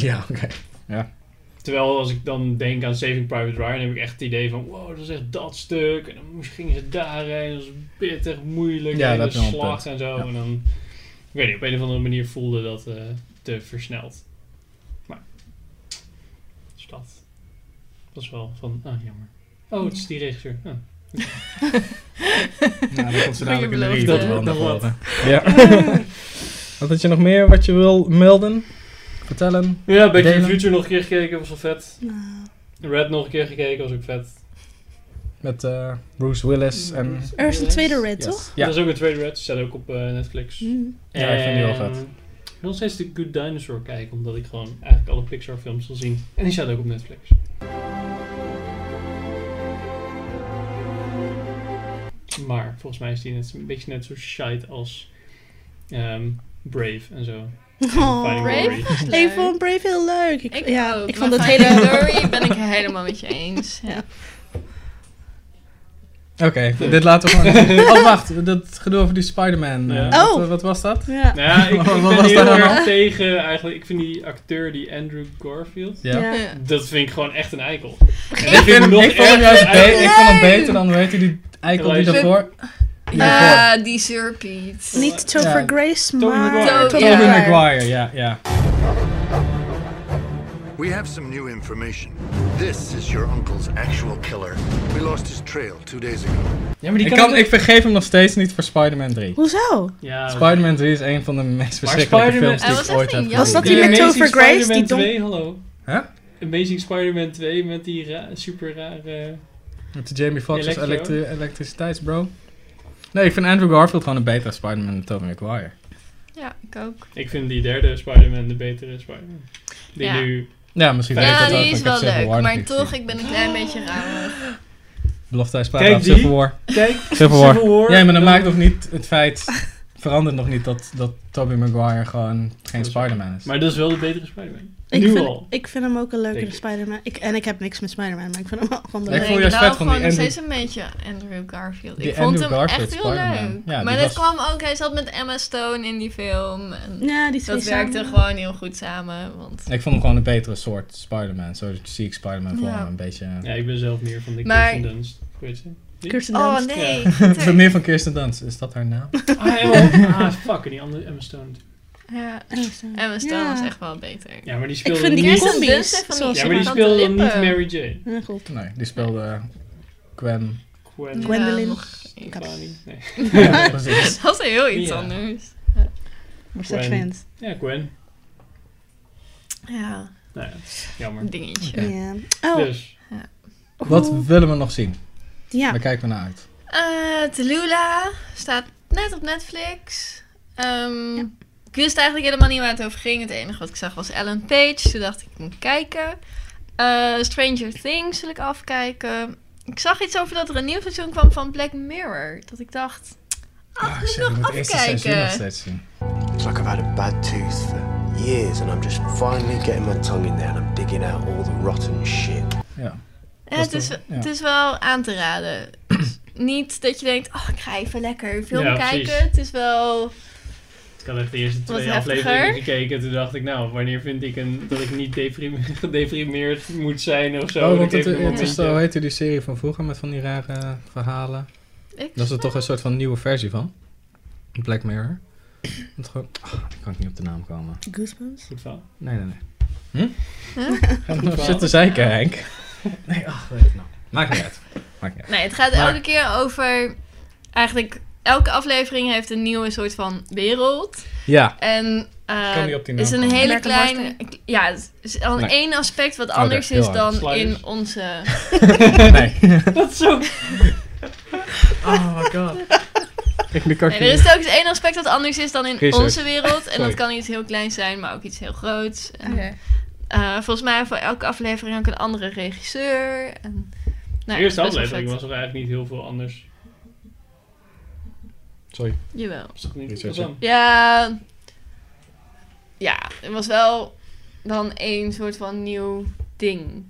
Speaker 1: Ja, oké. Ja.
Speaker 4: Terwijl als ik dan denk aan Saving Private Ryan, heb ik echt het idee van, wow, dat is echt dat stuk. En dan moest- gingen ze daarheen, dat was pittig, moeilijk,
Speaker 1: Ja,
Speaker 4: en
Speaker 1: dat
Speaker 4: de
Speaker 1: is wel een
Speaker 4: slag
Speaker 1: punt.
Speaker 4: en zo.
Speaker 1: Ja.
Speaker 4: En dan, ik weet niet, op een of andere manier voelde dat eh, te versneld. Maar, dus dat was wel van, ah, jammer. Oh, het is die regisseur. Ah.
Speaker 1: Nou, dan komt ze dadelijk in de
Speaker 4: Goeie
Speaker 1: review
Speaker 4: belofte.
Speaker 1: wel naar
Speaker 4: Dat wordt.
Speaker 1: voren. Ja. Wat had je nog meer wat je wil melden? Vertellen?
Speaker 4: Ja, Back to the
Speaker 1: Delen?
Speaker 4: Future nog een keer gekeken, was wel vet.
Speaker 2: Eh,
Speaker 4: Red nog een keer gekeken, was ook vet.
Speaker 1: Met eh, Bruce Willis en...
Speaker 2: Mm, Er is een tweede Red,
Speaker 1: Yes.
Speaker 2: toch?
Speaker 1: Ja.
Speaker 4: Dat is ook een trade red, staat ook op eh, Netflix.
Speaker 2: Mm.
Speaker 1: Ja, ik vind die wel vet.
Speaker 4: En Ik wil Ehm, nog steeds de Good Dinosaur kijken, omdat ik gewoon eigenlijk alle Pixar films wil zien. En die staat ook op Netflix. Maar volgens mij is die net, een beetje net zo shite als ehm, Brave en zo. En Finding
Speaker 2: Brave?
Speaker 4: Dory.
Speaker 2: Oh. Ik vond Brave heel leuk. Ik, ja,
Speaker 3: ook,
Speaker 2: ik vond
Speaker 3: maar
Speaker 2: het
Speaker 3: Finding
Speaker 2: hele...
Speaker 3: Dory ben ik helemaal met je eens. Ja.
Speaker 1: Oké, dit laten we
Speaker 4: *laughs*
Speaker 1: gewoon... oh, wacht. Dat gedoe over die Spider-Man. eh,
Speaker 4: Ja.
Speaker 1: wat,
Speaker 2: Oh.
Speaker 1: wat was dat?
Speaker 2: Ja.
Speaker 4: Nou
Speaker 1: *laughs*
Speaker 4: ja, ik, ik
Speaker 1: Wat
Speaker 4: ben
Speaker 1: was
Speaker 4: heel
Speaker 1: daar
Speaker 4: erg
Speaker 1: nou?
Speaker 4: tegen eigenlijk. Ik vind die acteur, die Andrew Garfield,
Speaker 1: Ja.
Speaker 2: Ja.
Speaker 3: Ja.
Speaker 4: dat vind ik gewoon echt een eikel. En
Speaker 1: Ik, vind,
Speaker 4: nog
Speaker 1: ik vond hem
Speaker 4: erger
Speaker 1: juist
Speaker 4: eikel.
Speaker 1: be- ik vond hem beter dan, hoe heet die, die eikel die
Speaker 4: Elijah.
Speaker 1: daarvoor...
Speaker 3: Eh, Ja, Ah, die surpiet.
Speaker 2: Niet Topher
Speaker 1: Ja.
Speaker 2: Grace,
Speaker 4: Tobey
Speaker 2: maar...
Speaker 4: Maguire.
Speaker 2: Tobey
Speaker 1: Tobey
Speaker 2: Maguire.
Speaker 1: Maguire, ja, ja.
Speaker 7: We have some new information. This is your uncle's actual killer. We lost his trail two days ago.
Speaker 4: Ja, maar die
Speaker 1: Ik,
Speaker 4: kan,
Speaker 1: kan,
Speaker 4: ook-
Speaker 1: ik vergeef hem nog steeds niet voor Spider-Man 3.
Speaker 2: Hoezo?
Speaker 4: Ja,
Speaker 1: Spider-Man 3 is een van de meest verschrikkelijke
Speaker 4: Spider-Man-
Speaker 1: films die
Speaker 3: Hij
Speaker 1: ik
Speaker 3: was
Speaker 1: ooit
Speaker 3: echt
Speaker 1: heb
Speaker 3: een jas.
Speaker 2: Was dat
Speaker 1: gezien.
Speaker 2: die met
Speaker 4: Amazing
Speaker 2: Topher Grace, die
Speaker 4: Spider-Man
Speaker 2: dom-
Speaker 4: 2, hallo.
Speaker 1: Huh?
Speaker 4: Amazing Spider-Man 2 met die ra- super rare...
Speaker 1: Met de Jamie Foxx als
Speaker 4: Electro.
Speaker 1: elektri- elektriciteitsbro. Nee, ik vind Andrew Garfield gewoon een betere Spider-Man dan Tobey Maguire.
Speaker 3: Ja, ik ook.
Speaker 4: Ik vind die derde Spider-Man de betere Spider-Man. Die
Speaker 3: Ja.
Speaker 4: nu...
Speaker 1: Ja, misschien
Speaker 4: Ja,
Speaker 1: weet ik
Speaker 3: Ja,
Speaker 1: dat ook,
Speaker 3: die
Speaker 1: maar
Speaker 3: is
Speaker 1: ik heb
Speaker 3: wel
Speaker 1: Civil
Speaker 3: leuk,
Speaker 1: War nog
Speaker 3: maar
Speaker 1: niet
Speaker 3: toch,
Speaker 1: gezien.
Speaker 3: ik ben een klein beetje rauw.
Speaker 1: Belofte, hij
Speaker 4: Kijk
Speaker 1: spraat over
Speaker 4: die.
Speaker 1: Civil War.
Speaker 4: Kijk,
Speaker 1: Civil War. Ja, maar dat
Speaker 4: dan-
Speaker 1: maakt nog niet het feit... Verandert nog niet dat, dat Tobey Maguire gewoon geen Spider-Man is.
Speaker 4: Maar dat is wel de betere Spider-Man.
Speaker 2: Ik
Speaker 4: nu
Speaker 2: vind,
Speaker 4: al.
Speaker 2: ik vind hem ook een leukere
Speaker 4: Denk ik.
Speaker 2: Spider-Man. Ik, en ik heb niks met Spider-Man, maar ik vind hem wel gewoon
Speaker 1: Ik
Speaker 2: leuk.
Speaker 1: vond
Speaker 3: ik
Speaker 1: juist
Speaker 3: hou
Speaker 1: vet van
Speaker 3: gewoon
Speaker 1: die
Speaker 3: nog
Speaker 1: Andrew-
Speaker 3: steeds een beetje Andrew Garfield. Ik
Speaker 1: Die
Speaker 3: vond
Speaker 1: Andrew
Speaker 3: hem
Speaker 1: Garfield
Speaker 3: echt heel
Speaker 1: Spider-Man.
Speaker 3: leuk.
Speaker 1: Ja, die
Speaker 3: maar dat
Speaker 1: was-
Speaker 3: kwam ook, hij zat met Emma Stone in die film. En
Speaker 2: Ja, die twee
Speaker 3: dat werkte
Speaker 2: samen.
Speaker 3: gewoon heel goed samen. Want...
Speaker 1: Ik vond hem gewoon een betere soort Spider-Man. Zo zie ik Spider-Man voor
Speaker 3: Ja.
Speaker 1: me een beetje...
Speaker 4: Ja, ik ben zelf meer van de
Speaker 3: Maar-
Speaker 4: Kirsten Dunst. Weet je? Die?
Speaker 2: Kirsten
Speaker 3: Oh
Speaker 2: Dunst.
Speaker 3: nee.
Speaker 2: *laughs*
Speaker 4: Ja.
Speaker 1: Het is meer van Kirsten Dunst. Is dat haar
Speaker 3: *laughs*
Speaker 1: naam?
Speaker 4: Ah, Emma, ah, fuck. En die andere Emma Stone.
Speaker 3: Ja.
Speaker 2: Emma Stone.
Speaker 3: Emma Stone
Speaker 2: Ja.
Speaker 3: was echt wel beter.
Speaker 4: Ja, maar die
Speaker 2: Ik
Speaker 4: speelde
Speaker 2: vind die
Speaker 4: niet...
Speaker 3: Kirsten
Speaker 2: combi's,
Speaker 3: Dunst heeft van die-
Speaker 2: zoals
Speaker 4: Ja,
Speaker 2: ze
Speaker 4: maar die
Speaker 2: maakt.
Speaker 4: speelde dan niet
Speaker 3: lippen. *laughs*
Speaker 4: Mary Jane.
Speaker 2: Ja, goed.
Speaker 1: Nee, die speelde Gwen.
Speaker 4: Gwen.
Speaker 2: Gwendolyn.
Speaker 3: nog
Speaker 4: Nee,
Speaker 2: Kap.
Speaker 4: Fanny. Nee.
Speaker 1: Ja, *laughs* precies.
Speaker 3: Dat was heel iets
Speaker 4: Ja.
Speaker 3: anders.
Speaker 4: Gwen.
Speaker 2: Maar such fans.
Speaker 4: Ja, Gwen.
Speaker 3: Ja,
Speaker 4: Nou ja, jammer.
Speaker 3: een dingetje.
Speaker 1: Ja.
Speaker 2: Ja. Oh,
Speaker 4: Dus,
Speaker 1: Wat
Speaker 2: hoe-
Speaker 1: willen we nog zien?
Speaker 2: ja.
Speaker 1: Daar kijken we naar uit.
Speaker 3: Eh Tallulah staat net op Netflix. Ehm, Ik wist eigenlijk helemaal niet waar het over ging. Het enige wat ik zag was Ellen Page. Toen dacht ik, ik moet kijken. Eh, Stranger Things wil ik afkijken. Ik zag iets over dat er een nieuw seizoen kwam van Black Mirror. Dat ik dacht,
Speaker 1: Ah,
Speaker 3: moet
Speaker 1: shit, ik moet
Speaker 3: nog
Speaker 1: het eerste seizoen nog
Speaker 3: afkijken.
Speaker 1: steeds zien.
Speaker 15: It's like I've had a bad tooth for years and I'm just finally getting my tongue in there and I'm digging out all the rotten shit.
Speaker 1: Ja.
Speaker 3: Ja, het, is, het is wel aan te raden. niet dat je denkt, oh, ik ga even lekker een film
Speaker 4: Ja,
Speaker 3: kijken.
Speaker 4: precies.
Speaker 3: Het is wel...
Speaker 4: Ik had echt de eerste
Speaker 3: Wat
Speaker 4: twee
Speaker 3: heftiger.
Speaker 4: afleveringen gekeken. Toen dacht ik, nou, wanneer vind ik een, dat ik niet deprim- *laughs* gedeprimeerd moet zijn of zo?
Speaker 1: oh,
Speaker 4: Dat
Speaker 1: want
Speaker 4: ik
Speaker 1: het,
Speaker 4: even een
Speaker 1: het is,
Speaker 4: momentje-
Speaker 1: hoe heette die serie van vroeger met van die rare verhalen?
Speaker 3: Ik
Speaker 1: Dat is er toch een soort van nieuwe versie van? Black Mirror. Want gewoon, ah, ik kan niet op de naam komen.
Speaker 2: Goosebumps?
Speaker 4: Goed verhaal.
Speaker 1: Nee, nee, nee. Hm?
Speaker 3: Huh?
Speaker 1: Ga je nog zitten zeiken, Henk? Nee, ach, weet ik nou. Maakt niet uit. Maakt niet uit.
Speaker 3: Nee, het gaat
Speaker 1: Maar-
Speaker 3: elke keer over... Eigenlijk, elke aflevering heeft een nieuwe soort van wereld.
Speaker 1: Ja.
Speaker 3: En eh,
Speaker 1: Kan niet op die naam
Speaker 3: is een
Speaker 1: komen.
Speaker 3: hele
Speaker 1: American
Speaker 3: kleine... Ja, het is al
Speaker 1: Nee.
Speaker 3: één aspect wat
Speaker 1: Oh, daar,
Speaker 3: anders
Speaker 1: heel
Speaker 3: is
Speaker 1: hard.
Speaker 3: dan
Speaker 1: Sliders.
Speaker 3: in onze...
Speaker 1: *laughs* *laughs* Nee. *laughs*
Speaker 4: Dat is zo...
Speaker 1: Oh my god. Ik nu kan
Speaker 3: Nee, er is ook eens één aspect dat anders is dan in
Speaker 1: Research.
Speaker 3: onze wereld. En
Speaker 1: Sorry.
Speaker 3: dat kan iets heel kleins zijn, maar ook iets heel groots. En, eh, volgens mij voor elke aflevering ook een andere regisseur. En, nou
Speaker 4: de
Speaker 3: ja,
Speaker 4: eerste
Speaker 3: best wel
Speaker 4: aflevering
Speaker 3: vet.
Speaker 4: was er eigenlijk niet heel veel anders.
Speaker 1: Sorry.
Speaker 3: Jawel.
Speaker 4: Is toch niet
Speaker 1: Research,
Speaker 4: wat dan?
Speaker 3: Ja, ja, er was wel dan één soort van nieuw ding.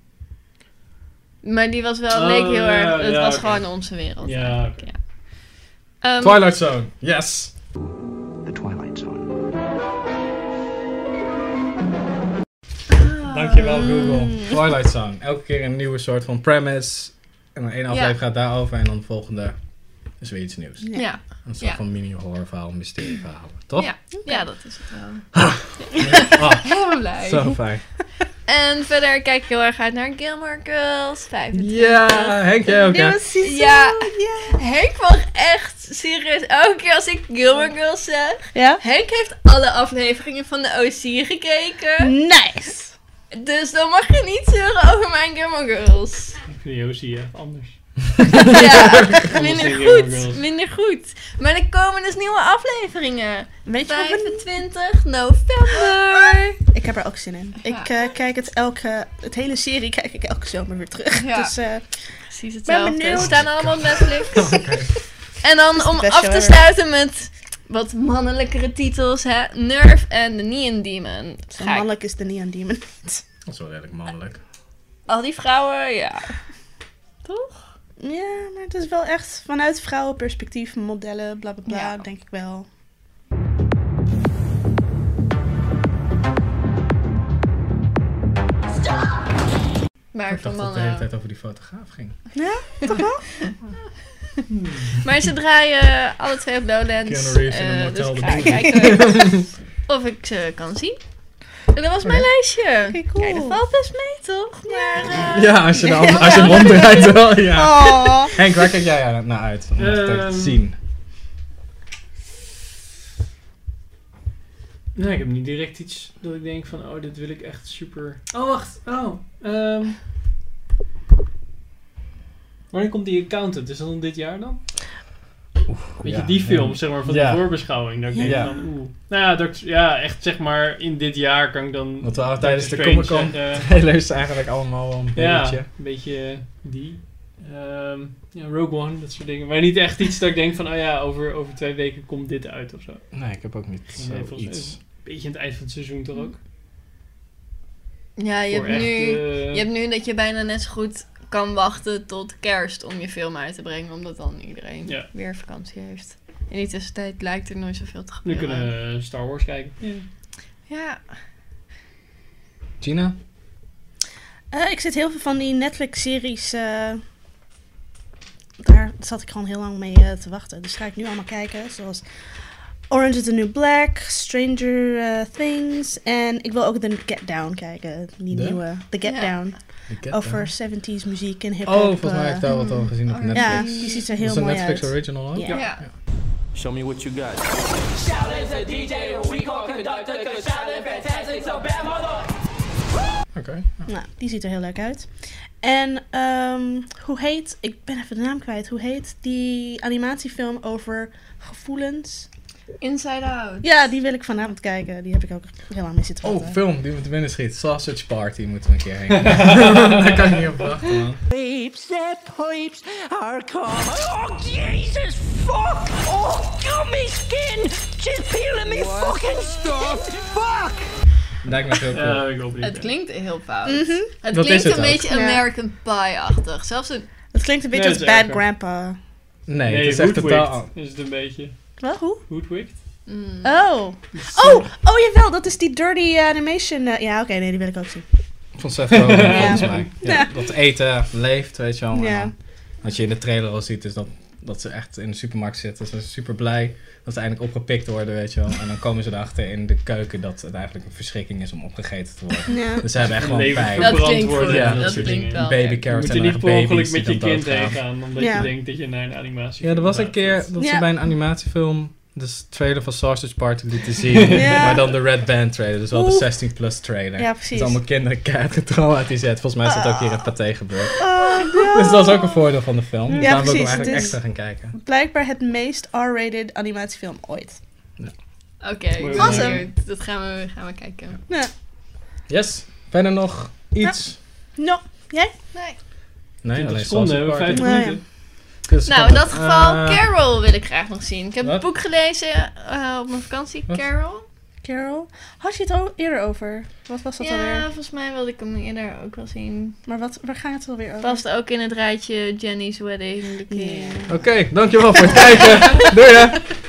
Speaker 3: Maar die was wel,
Speaker 1: Oh,
Speaker 3: leek heel
Speaker 1: ja,
Speaker 3: erg, het
Speaker 1: ja,
Speaker 3: was
Speaker 1: oké.
Speaker 3: gewoon onze wereld.
Speaker 1: Ja,
Speaker 3: eigenlijk, ja. Ehm,
Speaker 1: Twilight Zone. Yes.
Speaker 8: The Twilight Zone.
Speaker 1: Ah. Dankjewel Google. Twilight Zone. Elke keer een nieuwe soort van premise. En dan één aflevering gaat daarover en dan de volgende is weer iets nieuws.
Speaker 3: Ja. Ja.
Speaker 1: Een soort
Speaker 3: Ja.
Speaker 1: van mini horror verhaal, mysterie verhaal. Toch?
Speaker 3: Ja, ja, dat is het
Speaker 1: *laughs*
Speaker 3: wel.
Speaker 1: Oh.
Speaker 3: *laughs*
Speaker 1: Ah.
Speaker 3: Helemaal blij.
Speaker 1: Zo fijn.
Speaker 3: En verder kijk ik heel erg uit naar Gilmore Girls 25.
Speaker 1: Ja, Henk, jij ook, hè?
Speaker 3: Nieuwe seizoen, Ja, Henk was echt serieus. Elke keer als ik Gilmore Girls zeg, Henk heeft alle afleveringen van de OC gekeken.
Speaker 2: Nice!
Speaker 3: Dus dan mag je niet zeuren over mijn Gilmore Girls.
Speaker 4: Ik vind Josie echt anders.
Speaker 3: Ja,
Speaker 4: Anders
Speaker 3: minder
Speaker 4: dan Gilmore
Speaker 3: goed.
Speaker 4: Girls.
Speaker 3: Minder goed. Maar er komen dus nieuwe afleveringen.
Speaker 2: Weet je wat we-
Speaker 3: 25 november.
Speaker 2: Ik heb er ook zin in. Ik eh, kijk het elke... Het hele serie kijk ik elke zomer weer terug.
Speaker 3: Ja.
Speaker 2: Dus, eh,
Speaker 3: Precies
Speaker 2: Ben
Speaker 3: hetzelfde.
Speaker 2: benieuwd.
Speaker 3: Ze staan allemaal op *laughs* Netflix. En
Speaker 2: Dat
Speaker 3: dan
Speaker 2: is
Speaker 3: om
Speaker 2: best
Speaker 3: af
Speaker 2: wel
Speaker 3: te
Speaker 2: erg.
Speaker 3: sluiten met wat mannelijkere titels, hè? Nerve en The Neon Demon.
Speaker 2: Zo
Speaker 3: Ga ik-
Speaker 2: mannelijk is de Neon Demon.
Speaker 1: Dat is wel redelijk mannelijk.
Speaker 3: Al die vrouwen, ja.
Speaker 2: Ja, maar het is wel echt vanuit vrouwenperspectief, modellen, bla bla bla, denk ik wel.
Speaker 3: Maar
Speaker 1: Ik dacht dat het
Speaker 3: van
Speaker 1: de hele
Speaker 3: mannen.
Speaker 1: tijd over die fotograaf ging.
Speaker 2: Ja, toch *laughs* wel?
Speaker 3: Maar ze draaien alle twee op Lowlands.
Speaker 1: Keanu Reeves in een
Speaker 3: eh, dus
Speaker 1: motel
Speaker 3: ik
Speaker 1: de
Speaker 3: ga
Speaker 1: boel.
Speaker 3: kijken eh, of ik ze kan zien. En dat was mijn lijstje. Kijk, dat valt best mee, toch? Maar, eh,
Speaker 1: Ja, als je, de hand-
Speaker 3: ja.
Speaker 1: als je hem
Speaker 2: *laughs*
Speaker 1: omdraait wel, ja.
Speaker 3: Oh.
Speaker 1: Henk, waar kijk jij naar uit? Om dat te
Speaker 4: Ehm,
Speaker 1: zien.
Speaker 4: Nee, ik heb niet direct iets dat ik denk van, oh, dit wil ik echt super... Oh, wacht. Oh, ehm... Wanneer komt die accountant? Is dat dan dit jaar dan? Weet
Speaker 1: ja,
Speaker 4: je, die film,
Speaker 1: ja.
Speaker 4: zeg maar, van
Speaker 1: Ja.
Speaker 4: de voorbeschouwing. Dat ik denk
Speaker 1: Ja.
Speaker 4: van, oeh. Nou ja, dat, ja, echt zeg maar, in dit jaar kan ik dan...
Speaker 1: Want we hadden
Speaker 4: Doctor
Speaker 1: tijdens de
Speaker 4: Strange eh,
Speaker 1: Comic-Con
Speaker 4: zeggen.
Speaker 1: *laughs* trailers eigenlijk allemaal wel een
Speaker 4: Ja,
Speaker 1: beetje.
Speaker 4: een beetje die. Ehm, ja, Rogue One, dat soort dingen. Maar niet echt iets dat ik denk van, oh ja, over, over twee weken komt dit uit of zo.
Speaker 1: Nee, ik heb ook niet
Speaker 4: Nee,
Speaker 1: zo
Speaker 4: volgens mij is
Speaker 1: iets.
Speaker 4: het Een beetje aan het eind van het seizoen toch ook?
Speaker 3: Ja, je
Speaker 4: Voor
Speaker 3: hebt, nu,
Speaker 4: echt, eh,
Speaker 3: je hebt nu dat je bijna net zo goed kan wachten tot kerst om je film uit te brengen. Omdat dan iedereen
Speaker 4: Ja.
Speaker 3: weer vakantie heeft. In die tussentijd lijkt er nooit zoveel te
Speaker 4: Nu
Speaker 3: gebeuren.
Speaker 4: kunnen we Star Wars kijken.
Speaker 3: Ja.
Speaker 1: Gina?
Speaker 2: Eh, ik zit heel veel van die Netflix-series. eh, daar zat ik gewoon heel lang mee eh, te wachten. Dus ga ik nu allemaal kijken. Zoals Orange is the New Black, Stranger eh, Things. En ik wil ook The Get Down kijken. Die
Speaker 1: De?
Speaker 2: nieuwe. The Get
Speaker 3: Ja.
Speaker 2: Down.
Speaker 1: The Get
Speaker 2: Over 70s muziek en hip-hop.
Speaker 1: Oh, volgens mij heb ik
Speaker 2: eh,
Speaker 1: daar wat over gezien op
Speaker 2: Ja,
Speaker 1: Netflix.
Speaker 2: die ziet er
Speaker 1: Dat is
Speaker 2: heel
Speaker 1: een
Speaker 2: mooi
Speaker 1: Netflix
Speaker 2: uit.
Speaker 1: original ook?
Speaker 2: Ja. Ja.
Speaker 16: Show me what you got.
Speaker 17: Shout out to DJ, we call conductor, cause shouting fantastic, so bad mother.
Speaker 1: Oké.
Speaker 2: Nou, die ziet er heel leuk uit. En ehm, hoe heet, ik ben even de naam kwijt, hoe heet die animatiefilm over gevoelens?
Speaker 3: Inside Out.
Speaker 2: Ja, die wil ik vanavond kijken. Die heb ik ook heel lang mee zitten
Speaker 1: Oh,
Speaker 2: wachten.
Speaker 1: film die we te binnen schiet. Sausage Party moeten we een keer
Speaker 2: *laughs*
Speaker 1: heen. *laughs* Daar kan ik niet op wachten, man.
Speaker 17: Peeps, the pipes are coming. Oh, Jesus, fuck! Oh, gummy skin! She's peeling me fucking stuff! Fuck!
Speaker 1: Lijkt me heel
Speaker 4: Ja,
Speaker 1: cool.
Speaker 3: Het klinkt heel fout.
Speaker 2: Mhm.
Speaker 3: Het
Speaker 1: Dat is
Speaker 3: klinkt
Speaker 1: het
Speaker 3: een
Speaker 1: ook.
Speaker 3: beetje
Speaker 2: Ja.
Speaker 3: American Pie-achtig. Zelfs een...
Speaker 2: Het klinkt een beetje
Speaker 4: Nee,
Speaker 2: als
Speaker 4: het is
Speaker 2: Bad
Speaker 4: erger.
Speaker 2: Grandpa.
Speaker 1: Nee, het is echt
Speaker 4: hoodwicked
Speaker 1: totaal...
Speaker 4: Is het een beetje.
Speaker 2: Wat, hoe?
Speaker 4: Hoodwicked?
Speaker 3: mm.
Speaker 2: Oh. oh, oh jawel, dat is die dirty eh, animation. eh, ja, oké, nee, die wil ik ook zien.
Speaker 1: Van Seth Rogen,
Speaker 2: Ja.
Speaker 1: volgens mij. Ja,
Speaker 2: Ja.
Speaker 1: Dat eten leeft, weet je wel. En
Speaker 2: Ja.
Speaker 1: dan, wat je in de trailer al ziet, is dat, dat ze echt in de supermarkt zitten. Ze zijn super blij dat ze eindelijk opgepikt worden, weet je wel. En dan komen ze erachter in de keuken dat het eigenlijk een verschrikking is om opgegeten te worden. *laughs*
Speaker 4: Ja.
Speaker 1: Dus ze hebben echt
Speaker 4: Hun
Speaker 1: gewoon
Speaker 4: leven
Speaker 1: pijn.
Speaker 4: verbrand Dat klinkt worden goed, en
Speaker 1: Ja,
Speaker 4: dat
Speaker 1: dat soort
Speaker 4: klinkt
Speaker 1: dingen.
Speaker 4: wel
Speaker 1: Baby
Speaker 4: erg.
Speaker 1: carrots
Speaker 4: Moet
Speaker 1: en
Speaker 4: je niet
Speaker 1: eigen
Speaker 4: per ongeluk
Speaker 1: baby's
Speaker 4: met
Speaker 1: die
Speaker 4: je
Speaker 1: dan
Speaker 4: kind heen
Speaker 1: doodgaan.
Speaker 4: gaan, omdat
Speaker 2: Ja.
Speaker 4: je denkt dat je naar een animatie
Speaker 1: Ja, er was een keer dat ze bij een animatiefilm de s- trailer van Sausage Party lieten zien.
Speaker 2: *laughs* Ja.
Speaker 1: Maar dan de Red Band trailer, dus wel de
Speaker 2: Oeh.
Speaker 1: 16 plus trailer.
Speaker 2: Ja, precies.
Speaker 1: Dus allemaal kinderen keihard getraumatiseerd. Volgens mij is dat ook hier in Pathé gebeurd.
Speaker 2: Oh, no.
Speaker 1: Dus dat is ook een voordeel van de film.
Speaker 2: Ja,
Speaker 1: dus daarom wil ik hem
Speaker 2: precies,
Speaker 1: eigenlijk
Speaker 2: dus-
Speaker 1: extra gaan kijken.
Speaker 2: Blijkbaar het meest R-rated animatiefilm ooit.
Speaker 3: Oké,
Speaker 1: Mooi
Speaker 2: Awesome.
Speaker 3: benieuwd. dat gaan we, gaan we kijken.
Speaker 2: Ja.
Speaker 1: Yes. Verder nog iets?
Speaker 2: No. Jij?
Speaker 3: Nee.
Speaker 1: Nee,
Speaker 4: 20
Speaker 1: alleen
Speaker 4: seconden,
Speaker 1: Sausage
Speaker 4: we hebben
Speaker 1: Party.
Speaker 4: vijf minuten.
Speaker 1: Dus
Speaker 3: Nou, in
Speaker 1: kom-
Speaker 3: dat geval,
Speaker 1: Eh,
Speaker 3: Carol wil ik graag nog zien. Ik heb
Speaker 1: wat?
Speaker 3: het boek gelezen eh, op mijn vakantie,
Speaker 1: Wat?
Speaker 3: Carol.
Speaker 2: Carol? Had je het al eerder over? Wat was dat
Speaker 3: ja,
Speaker 2: alweer?
Speaker 3: volgens mij wilde ik hem eerder ook wel zien.
Speaker 2: Maar wat, waar gaat het alweer over?
Speaker 3: Past ook in het rijtje Jenny's Wedding. The King.
Speaker 2: *laughs*
Speaker 1: Oké, dankjewel voor het kijken. Doei hè.